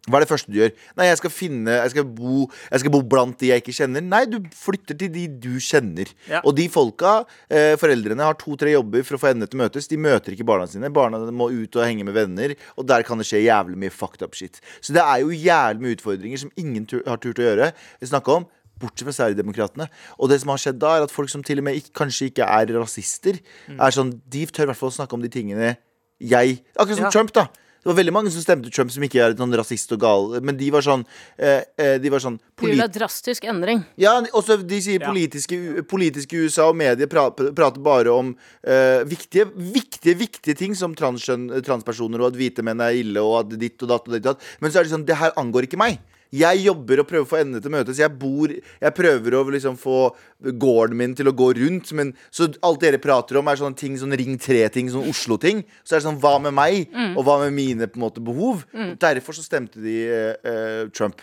Hva er det første du gjør? Nei, jeg skal finne Jeg skal bo, jeg skal bo blant de jeg ikke kjenner. Nei, du flytter til de du kjenner. Ja. Og de folka, eh, foreldrene, har to-tre jobber for å få endene til å møtes. De møter ikke barna sine. Barna må ut og henge med venner, og der kan det skje jævlig mye fucked up shit. Så det er jo jævlig mye utfordringer som ingen tur, har turt å gjøre. eh, Snakke om. Bortsett fra Sverigedemokraterna. Og det som har skjedd da, er at folk som til og med ikke, kanskje ikke er rasister, er sånn De tør i hvert fall å snakke om de tingene jeg Akkurat som Ja. Trump, da. Det var veldig mange som stemte Trump som ikke er sånn rasist og gal, men de var sånn, eh, eh, de var sånn Det polit er drastisk endring. ja, også de sier Ja. politiske, politiske USA og medier pra, prater bare om eh, viktige, viktige viktige ting som transkjønn, transpersoner og at hvite menn er ille og at ditt og datt og ditt og datt. Men så er det sånn, det her angår ikke meg. Jeg jobber og prøver å få endene til å møtes. Jeg bor, jeg prøver å liksom få gården min til å gå rundt. Men så alt dere prater om, er sånne ting, sånn Ring 3-ting, sånn Oslo-ting. Så er det sånn, hva med meg, og hva med mine på en måte, behov? Og Derfor så stemte de eh, eh, Trump.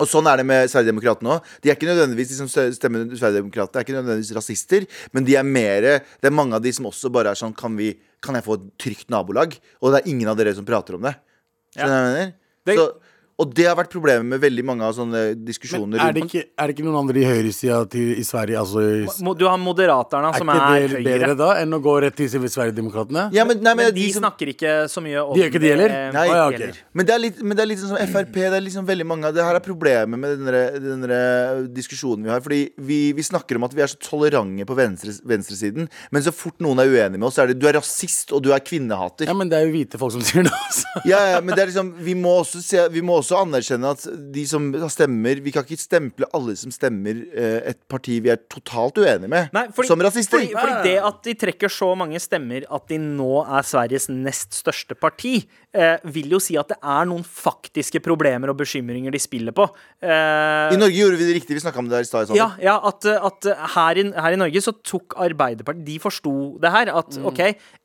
Og sånn er det med Sverigedemokraterna òg. De er ikke nødvendigvis de som stemmer Sverigedemokraterna, er ikke nødvendigvis rasister, men de er mer Det er mange av de som også bare er sånn Kan, vi, kan jeg få et trygt nabolag? Og det er ingen av dere som prater om det. Skjønner du hva jeg mener? Det- Så, og det har vært problemet med veldig mange av sånne diskusjoner Er det, rundt ikke, er det ikke noen andre i høyresida til- i Sverige, altså i, Mo- Du har Moderaterna, som Er er ikke det bedre høyre. da enn å gå rett til Sverigedemokratene? ja, men, nei, men, Men de de som, snakker ikke så mye om De gjør ikke det heller? Nei. Å, ja, ok. heller. men det er litt, men det er litt sånn som Frp. Det er liksom veldig mange av Det her er problemet med denne, denne diskusjonen vi har. Fordi vi, vi snakker om at vi er så tolerante på venstre, venstresiden, men så fort noen er uenig med oss, så er det du er rasist og du er kvinnehater. Ja, men det er jo hvite folk som sier det, altså. ja, ja, men det er liksom vi må, også se, vi må også anerkjenne at de som stemmer Vi kan ikke stemple alle som stemmer eh, et parti vi er totalt uenige med, Nei, fordi, som rasister. Fordi, fordi det at de trekker så mange stemmer at de nå er Sveriges nest største parti, eh, vil jo si at det er noen faktiske problemer og bekymringer de spiller på. Eh, I Norge gjorde vi det riktig. Vi snakka om det her i stad. Sander. ja, ja, at, at her, i, her i Norge så tok Arbeiderpartiet De forsto det her. At OK,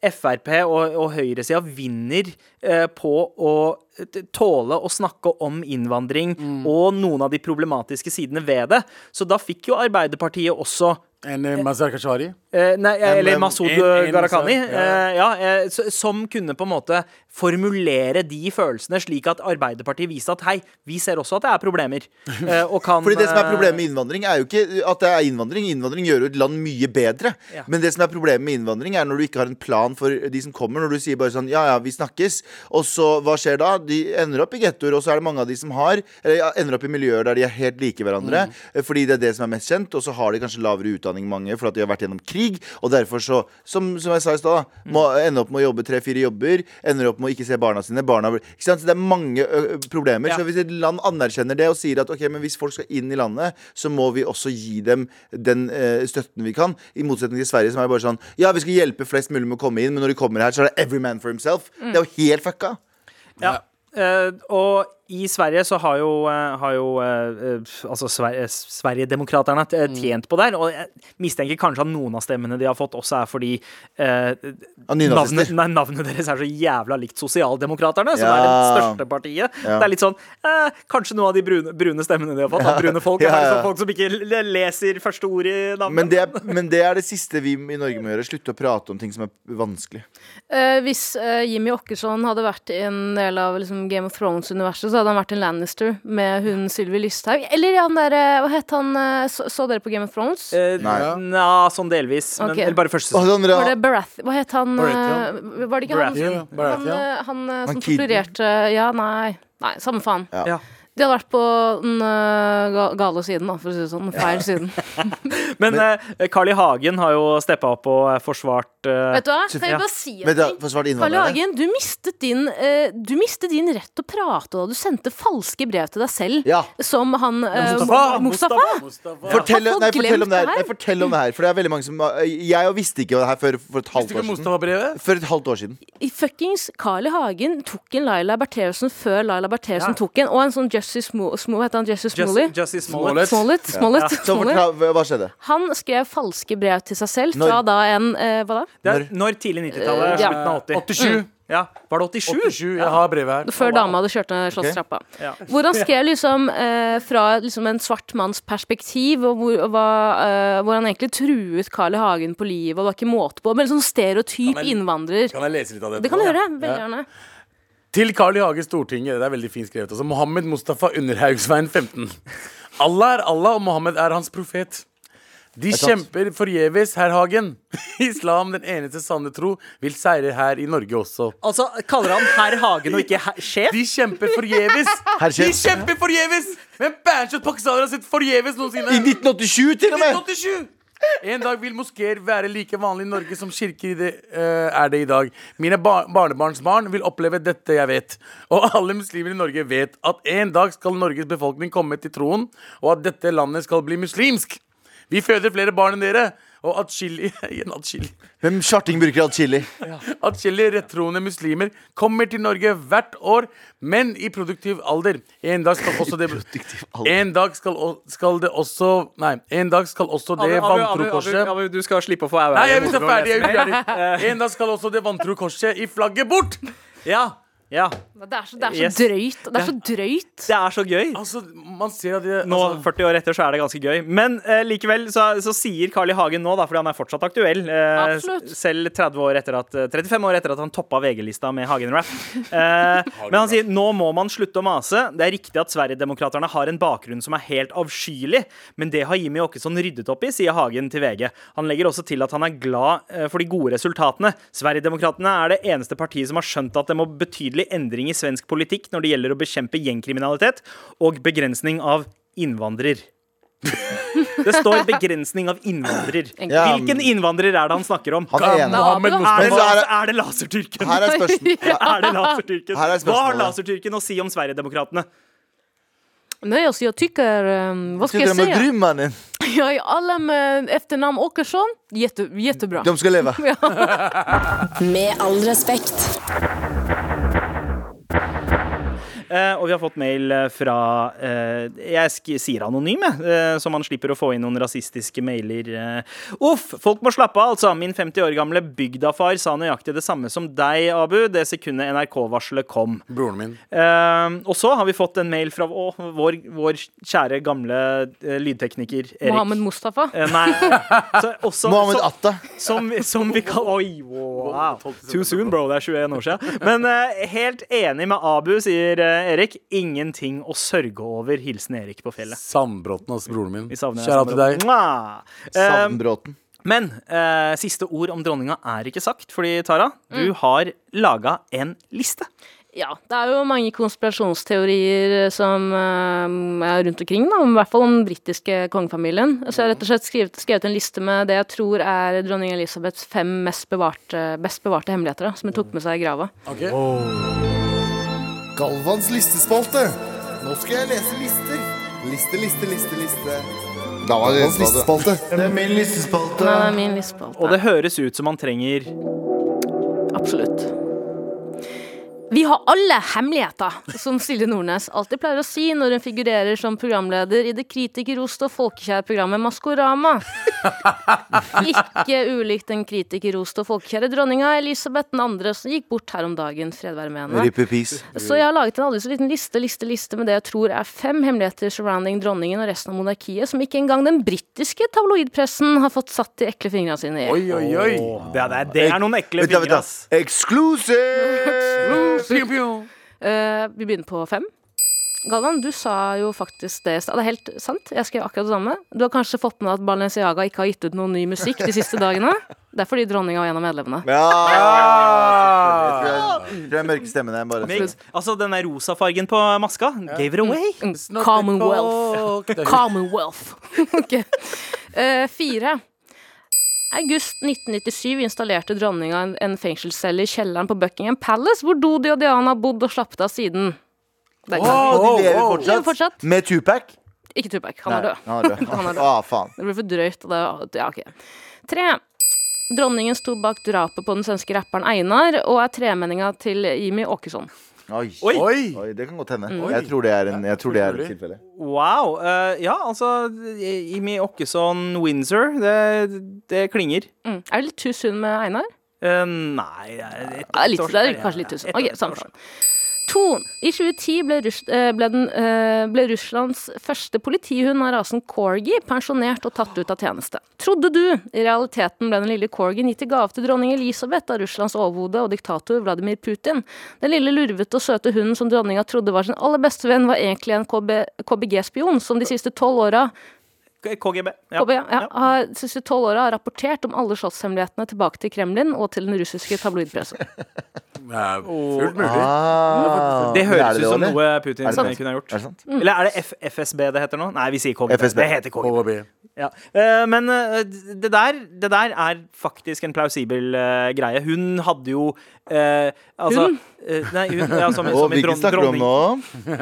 Frp og, og høyresida vinner eh, på å t- tåle å snakke om innvandring og noen av de problematiske sidene ved det. Så da fikk jo Arbeiderpartiet også (laughs) Enn eh, Mazar Kashari? Eh, nei, eller men- Masud en- en- Gharahkhani. ja. Eh, ja, eh, s- som kunne på en måte formulere de følelsene, slik at Arbeiderpartiet viste at hei, vi ser også at det er problemer. Eh, og kan Fordi det som er eh, problemet med innvandring, er jo ikke at det er innvandring. Innvandring gjør jo et land mye bedre. Ja. Men det som er problemet med innvandring, er når du ikke har en plan for de som kommer. Når du sier bare sånn ja ja, vi snakkes, og så hva skjer da? De ender opp i gettoer, og så er det mange av de som har Eller ja, ender opp i miljøer der de er helt like Mm. hverandre, eh, fordi det er det som er mest kjent, og så har de kanskje lavere utdanning mange fordi de har vært gjennom krig, og derfor så, som, som jeg sa i stad, da, må ender opp med å jobbe tre-fire jobber, ender opp med å ikke se barna sine, barna blir- Ikke sant? Så det er mange ø, problemer. Ja. Så hvis et land anerkjenner det og sier at ok, men hvis folk skal inn i landet, så må vi også gi dem den eh, støtten vi kan. I motsetning til Sverige, som er bare sånn Ja, vi skal hjelpe flest mulig med å komme inn, men når de kommer her, så er det every man for himself. Det Mm. er jo helt fucka. Ja. Eh, og i Sverige så har jo, eh, har jo eh, eh, altså Sver eh, Sverigedemokraterna t- Mm. eh, tjent på det her. Og jeg mistenker kanskje at noen av stemmene de har fått, også er fordi eh, Av navnet, nynazister. nei, navnet deres er så jævla likt Sosialdemokraterne, som Ja. er det største partiet. Ja. Det er litt sånn eh, Kanskje noen av de brune, brune stemmene de har fått, da, (laughs) brune folk, Ja, er ja. liksom folk som ikke l- leser første ord i navnet. Men det, er, men det er det siste vi i Norge må gjøre. Slutte å prate om ting som er vanskelig. Eh, hvis eh, Jimmy Åkesson hadde vært i en del av liksom, Game of Thrones-universet, så hadde han vært en Lannister med hun Sylvi Lysthaug. Eller han der eh, Hva het han eh, så, så dere på Game of Thrones? Eh, Nei. Nja, sånn delvis. Men, Ok. Eller bare første Og sesong. det andre, Var det Barath... Hva het han eh, Baratheon. Var det ikke han? Ja, ja, Han, Baratheon. eh, han, eh, som kiden. torturerte Ja, nei. Nei, samme faen. Ja. Ja. De hadde vært på den eh, ga- gale siden, da, for å si det sånn. Den feil siden. Men, eh, Carl I. Hagen har jo steppa opp og eh, forsvart eh, Vet du hva, kan ja. jeg bare si en Men da, ting? forsvart Karl innvandrere. Hagen, du mistet, din, eh, du mistet din rett til å prate da du sendte falske brev til deg selv. Ja. Som han eh, Mustafa, Mo- Mustafa. Mustafa. Fortell, Har folk nei, fortell om glemt det her. det her? Nei, fortell om det her. For det er veldig mange som Jeg jo visste ikke det her før for et halvt Visste år ikke siden. Mustafa-brevet? For et halvt år siden. I Fuckings Carl I. Hagen tok en Laila Bertheussen før Laila Bertheussen Ja. tok en. Og en sånn Jussie Smollett. Heter han Jussie Jussie Smollett? Jussie Smollett. Smollett. Smollett, Smollett, Så Smollett. fortell, hva skjedde? Han skrev falske brev til seg selv fra Når- da en eh, Hva da? Det er, når tidlig 90-tallet? Eh, ja. Slutten av 80. 87. Ja. Var det 87? 87, jeg har brevet her. Før dama hadde kjørt ned slottstrappa. Ja. Hvor (laughs) han skrev liksom eh, fra liksom en svart manns perspektiv, og hvor, og hva, eh, hvor han egentlig truet Carl I. Hagen på livet, og det var ikke måte på. Men sånn stereotyp men- innvandrer. Kan jeg lese litt av det? Det kan du gjøre. Veldig gjerne. Til Carl I. Hage Stortinget. Det er veldig fint skrevet. Altså, Mohammed Mustafa Underhaugsveien 15. Allah er Allah, og Mohammed er hans profet. De kjemper forgjeves, herr Hagen. (laughs) Islam, den eneste sanne tro, vil seire her i Norge også. Altså, kaller han herr Hagen og ikke herr sjef? (laughs) De kjemper forgjeves! Herr De sjef. kjemper forgjeves! Hvem bæsjet pakistanere har sett forgjeves I noensinne? 1987 til og med! 1987! En dag vil moskeer være like vanlig i Norge som kirker i det, eh, er det i dag. Mine bar barnebarnsbarn vil oppleve dette jeg vet. Og alle muslimer i Norge vet at en dag skal Norges befolkning komme til troen, og at dette landet skal bli muslimsk. Vi føder flere barn enn dere, og atskillig (laughs) Igjen atskillig. Hvem charting bruker alt chili? Atskillige rettroende muslimer kommer til Norge hvert år, men i produktiv alder. En dag skal også det En dag skal, o- skal det også Nei, en dag skal også det vantro korset Abu, du skal slippe å få au-au. Nei, jeg vil se ferdig! Jeg vil (laughs) ferdig. En dag skal også det vantro korset i flagget bort! Ja, ja. Det er så, det er så Yes. drøyt. Det er så drøyt. Det er så gøy. Altså, man ser at det Nå, altså, 40 år etter, så er det ganske gøy. Men eh, likevel så, så sier Carl I. Hagen nå, da, fordi han er fortsatt aktuell, eh, Absolutt. selv 30 år etter at, eh, 35 år etter at han toppa VG-lista med Hagen-rap. Eh, men han sier nå må man slutte å mase. Det er riktig at Sverigedemokraterna har en bakgrunn som er helt avskyelig, men det har Jimmy Åkesson ryddet opp i, sier Hagen til VG. Han legger også til at han er glad eh, for de gode resultatene. Sverigedemokraterna er det eneste partiet som har skjønt at det må betydelig endring i svensk politikk når det gjelder å bekjempe gjengkriminalitet og begrensning av innvandrer. Det står 'begrensning av innvandrer'. Ja. Hvilken innvandrer er det han snakker om? Han er enig. Mohammed Abu, Er Mustafa. det, Men så er las det- er det lasertyrken? Her er (laughs) spørsmålet. (laughs) Er det lasertyrken? Her er Hva har spørsmålet. lasertyrken å si om Sverigedemokratene? Nej, alltså jag tycker, ehm, vad ska Tycker jag de är säga? grym, mannen. (laughs) Jag är alla med efternamn Åkesson, jätte, jättebra. De skal leve. Med all respekt. Eh, og vi har fått mail eh, fra eh, Jeg sk sier anonym, jeg, eh, så man slipper å få inn noen rasistiske mailer. Eh. Uff, folk må slappe av, altså. Min 50 år gamle bygdafar sa nøyaktig det samme som deg, Abu, det sekundet NRK-varselet kom. Broren min. Eh, og så har vi fått en mail fra å, vår, vår kjære gamle eh, lydtekniker Erik. Mohammed Mustafa. Eh, (laughs) nei. Så også, Mohammed så, Atta. som, som vi kaller Oi, wow. Too soon, bro. Det er 21 år siden. Men eh, helt enig med Abu, sier eh, Erik. Ingenting å sørge over. Hilsen Erik på fjellet. Sandbråten, altså, broren min. Vi savner deg, Kjære til Sandra. deg. Mwah! Eh, Sandbråten. men eh, siste ord om dronninga er ikke sagt, fordi Tara, du har laga en liste. Ja, det er jo mange konspirasjonsteorier eh, som ehm, er rundt omkring, da, om- i hvert fall om den britiske kongefamilien. Så jeg har rett og slett skrevet, skrevet en liste med det jeg tror er dronning Elisabeths fem mest bevarte, best bevarte hemmeligheter, da, som hun tok med seg i grava. Ok. Galvans listespalte. Nå skal jeg lese lister. Liste, liste, liste, liste. Galvans listespalte. Det er min listespalte. Det er min listespalte. Og det høres ut som man trenger Absolutt. Vi har alle hemmeligheter, som Silje Nordnes alltid pleier å si når hun figurerer som programleder i det kritikerroste og folkekjære programmet Maskorama. Ikke ulikt den kritikerroste og folkekjære dronninga Elisabeth 2., som gikk bort her om dagen. Fred være med henne. Rip i peace. Så jeg har laget en aldri så liten liste liste, liste med det jeg tror er fem hemmeligheter surrounding dronningen og resten av monarkiet, som ikke engang den britiske tabloidpressen har fått satt de ekle fingrene sine i. Oi, oi, oi. Åh, det, er, det er noen ekle Vent da, vent fingre, da. ass. Exclusive! Pew, pew. Eh, vi begynner på fem. Galvan, du sa jo faktisk det i stad. Det er helt sant. Jeg skrev akkurat det samme. Du har kanskje fått med deg at Balenciaga ikke har gitt ut noe ny musikk de siste dagene? Det er fordi dronninga var en av medlemmene. Ja! Jeg tror jeg- jeg tror det er mørke stemmen der. Bare. Men, altså, den der rosa fargen på maska gave it away. Mm, Commonwealth. Det er- Commonwealth. (laughs) ok. Eh, fire. August 1997 installerte dronninga en, en fengselscelle i kjelleren på Buckingham Palace, hvor Dodi og Diana har bodd og slappet av siden. Det er ikke sant. Og de lever Lever fortsatt. fortsatt. Med Tupac? Ikke Tupac, han er Nei, død. Han er død. Han er død. Ah, faen. Det blir for drøyt. og Det, ja, ok. Tre. Dronningen sto bak drapet på den svenske rapperen Einar og er tremenninga til Jimmy Åkesson. Oi. Oi. Oi! Oi, det kan godt hende. Jeg tror det er en, jeg tror det er et tilfelle. Wow. eh, ja, altså Imi Åkesson Windsor, det, det klinger. Mm. Er det litt too soon med Einar? Eh, nei det er et Ja, litt, års- det er ja, kanskje litt too soon. et Ok, års- samme års- faen. to. I 2010 ble, Russ, eh, ble, den, eh, ble Russlands første politihund av rasen corgi pensjonert og tatt ut av tjeneste. Trodde du? I realiteten ble den lille corgien gitt i gave til dronning Elisabeth av Russlands overhode og diktator Vladimir Putin. Den lille lurvete og søte hunden som dronninga trodde var sin aller beste venn, var egentlig en KB, KBG-spion som de siste tolv åra KGB. Ja. KB, ja, har, de siste 12 åra har rapportert om alle slottshemmelighetene tilbake til Kremlin og til den russiske tabloidpressen. Ja, fullt mulig. Ah, Det høres er ut som eller? noe Putin Er det sant? kunne ha gjort. Er det sant? Mm. Eller er det F FSB det heter nå? Nei, vi sier KGB. FSB. Det heter KGB. KGB. Ja. Eh, men eh, det, der, det der er faktisk en plausibel eh, greie. Hun hadde jo eh, altså, Hun? nei, hun ja, som, Og som i hvilken dron, snakker du om dronning, nå?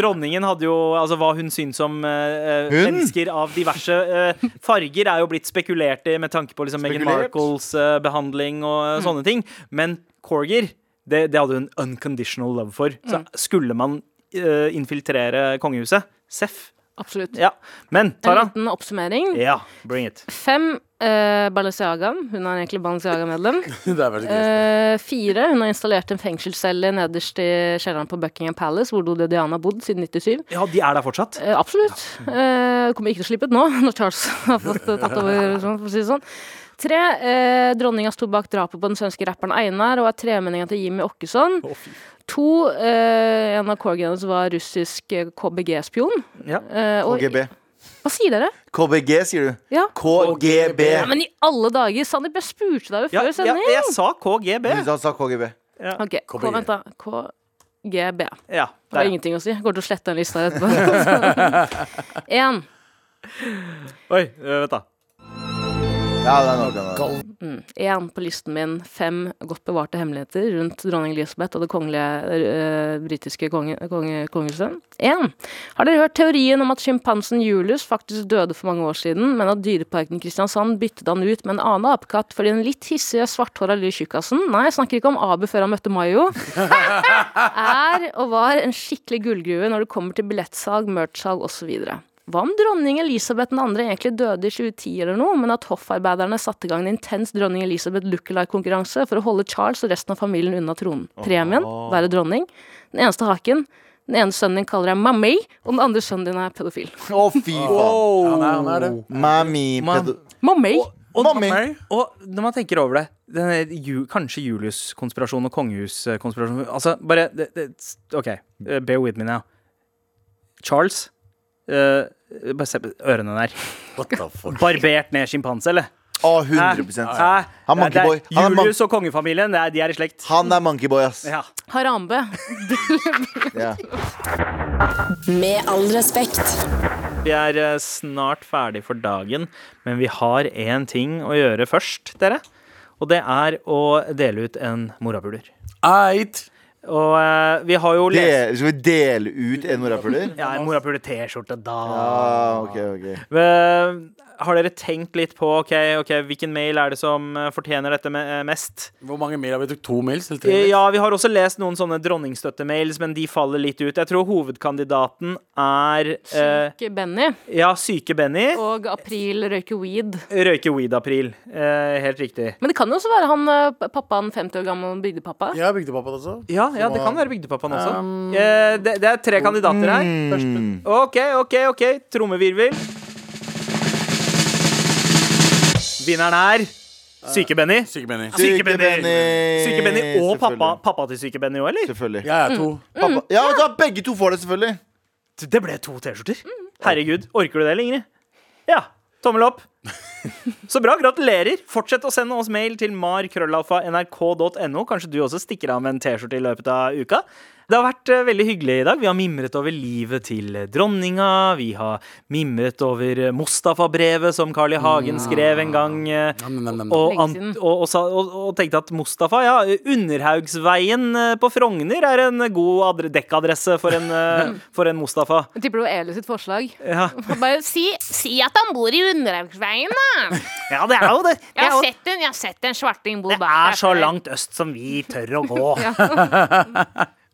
Dronningen hadde jo altså hva hun syns om eh, eh, Hun? mennesker av diverse eh, farger, er jo blitt spekulert i med tanke på liksom Meghan Spekulert. Mm. Markles eh, behandling og eh, sånne ting. Men corger, det, det hadde hun unconditional love for. Så skulle man eh, infiltrere kongehuset? Seff. Absolutt. Ja. Men En Tara liten oppsummering. Ja, bring it. Fem eh, Balenciaga. Hun er egentlig Balenciaga-medlem. (laughs) (laughs) Det er veldig greit. Eh, fire. Hun har installert en fengselscelle nederst i kjelleren på Buckingham Palace, hvor Dodi og Diana har bodd siden 97. Ja, de er der fortsatt. Eh, absolutt. Mm. Eh, kommer ikke til å slippe ut nå, (laughs) når Charles har fått eh, tatt (laughs) over. sånn, For å si det sånn. Tre. Eh, dronninga sto bak drapet på den svenske rapperen Einar og er tremenninga til Jimmy Åkesson. To. Eh, en av corgiene hennes var russisk eh, KBG-spion. Ja. Eh, og- KGB. Hva sier dere? KBG, sier du. Ja. KGB. Ja, men i alle dager, Sandeep, jeg spurte deg jo Ja, før ja, sending. jeg sa KGB. Han sa KGB. Ok, K, KBG. vent da. KGB. Det Ja, var der. ingenting å si. Jeg går til å slette den lista (laughs) etterpå. (laughs) Én. Oi, eh, vent da. Ja, det er nok, det er nok. Én på listen min. Fem godt bevarte hemmeligheter rundt dronning Elisabeth og det kongelige eh, britiske konge, konge, kongehuset. Én. Har dere hørt teorien om at sjimpansen Julius faktisk døde for mange år siden, men at Dyreparken i Kristiansand byttet han ut med en annen apekatt fordi den litt hissige, svarthåra lille tjukkasen Nei, jeg snakker ikke om Abu før han møtte Mayo. er og var en skikkelig gullgruve når det kommer til billettsalg, merch-salg osv. Hva om dronning Elisabeth 2. egentlig døde i 2010 eller noe, men at hoffarbeiderne satte i gang en intens dronning Elisabeth lookalike-konkurranse for å holde Charles og resten av familien unna tronen? Premien? Være dronning? Den eneste haken? Den ene sønnen din kaller deg mammy, og den andre sønnen din er pedofil. Å, fy faen. Ja, han er, han er det. Mami pedo... Mami. Mammy! Og når man tenker over det, denne ju, kanskje Julius-konspirasjon og kongehuskonspirasjon Altså, bare det, det, OK, eh, bear with me now. Charles eh, Bare se på ørene der. What the fuck? Barbert ned sjimpanse, eller? Å, Hæ? 100 Hæ? Han Det er- monkeyboy. det er Han er Julius og kongefamilien, det er, de er i slekt. Han er monkeyboy, ass. Ja. Harambe. Ja. Med all respekt. Vi er eh, snart ferdig for dagen, men vi har én ting å gjøre først, dere. Og det er å dele ut en morapuler. Eit. Og eh, vi har jo lest Del, skal vi dele ut en morapuler? Ja, en morapuler T-skjorte, da. Ah, ok, ok. Eh, Har dere tenkt litt på ok, ok, hvilken mail er det som eh, fortjener dette me- eh, mest? Hvor mange mer har vi? To mails? Eller tre? Eh, mails? Ja, vi har også lest noen sånne dronningstøttemails, men de faller litt ut. Jeg tror hovedkandidaten er eh, Ikke Benny. Ja, syke Benny. Og April røyker weed. Røyke weed-april. Eh, helt riktig. Men det kan jo også være han eh, pappaen 50 år gammel bygdepappa. Jeg har bygdepappa også. Ja, ja, det kan være Bygdepappaen også. Mm. Eh, det, det er tre kandidater her. Hmm. Første. OK, OK, ok. Trommevirvel. Vinneren er Syke-Benny. Sykemening. Syke-Benny Syke Benny og Eh, pappa, Selvfølgelig. pappa til Syke-Benny òg, eller? Selvfølgelig. Jeg er to. Pappa. Ja, vet du hva, begge to får det, selvfølgelig. Det ble to T-skjorter. Herregud. Orker du det, eller, Ingrid? Ja. Tommel (laughs) opp. Så bra. Gratulerer. Fortsett å sende oss mail til markrøllalfa.nrk.no. Kanskje du også stikker av med en T-skjorte i løpet av uka. Det har vært eh, veldig hyggelig i dag. Vi har mimret over livet til dronninga. Vi har mimret over eh, Mustafa-brevet som Carl I. Hagen Mm. skrev en gang. eh, Nam, nam, nam, nam. Og, Lenge an, siden. og, og, sa- og, og tenkte at Mustafa, ja, Underhaugsveien eh, på Frogner er en god adre, dekkadresse for en, (laughs) eh, for en Mustafa. Jeg tipper det var Eli sitt forslag. Ja. Bare si, si at han bor i Underhaugsveien, da! Ja, det er jo det. Det Jeg er, jo, har sett en, jeg har sett en svarting bo det bak er så der. langt øst som vi tør å gå.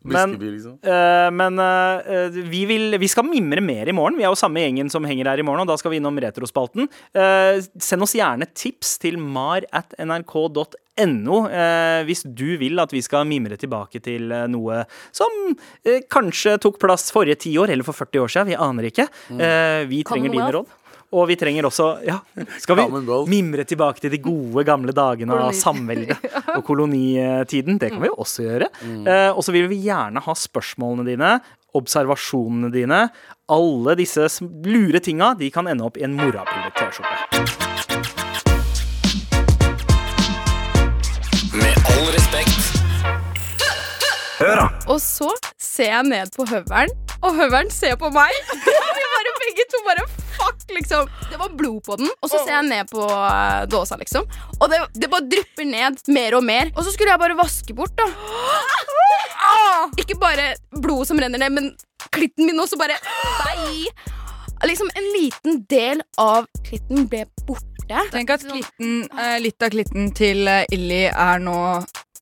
Men, Viskebil, liksom. eh, men eh, vi, vil, vi skal mimre mer i morgen. Vi er jo samme gjengen som henger her i morgen, og da skal vi innom Retrospalten. Eh, send oss gjerne tips til mar at nrk.no eh, hvis du vil at vi skal mimre tilbake til eh, noe som eh, kanskje tok plass forrige tiår, eller for 40 år siden. Vi aner ikke. Eh, vi trenger dine Commonwealth. råd. Og vi trenger også ja, Skal vi Commonwealth. mimre tilbake til de gode, gamle dagene av Koloni. samveldet og kolonitiden? Det kan vi jo også gjøre. Eh, og så vil vi gjerne ha spørsmålene dine, observasjonene dine. Alle disse sm- lure tinga de kan ende opp i en morapule-T-skjorte. Med all respekt. Og så ser jeg ned på høvelen, og høvelen ser på meg. (laughs) Og vi bare begge to bare fuck, liksom. Det var blod på den. Og så ser jeg ned på eh, dåsa, liksom. Og det, det bare drypper ned mer og mer. Og så skulle jeg bare vaske bort, (gasps) da. Ah! Ikke bare blodet som renner ned, men klitten min også bare Nei! Liksom en liten del av klitten ble borte. Tenk at klitten, eh, litt av klitten til eh, Illy er nå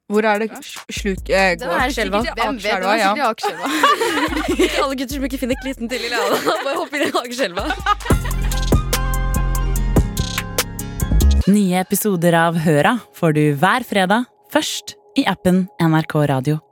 Hvor er det sj- sluk eh, Den går? er Skjelva? sikkert i Akerselva, ja. i Akerselva. Ikke alle gutter som (laughs) ikke finner klitten til i Leana. Bare hopp inn i Akerselva. Nye episoder av Høra får du hver fredag, først i appen NRK Radio.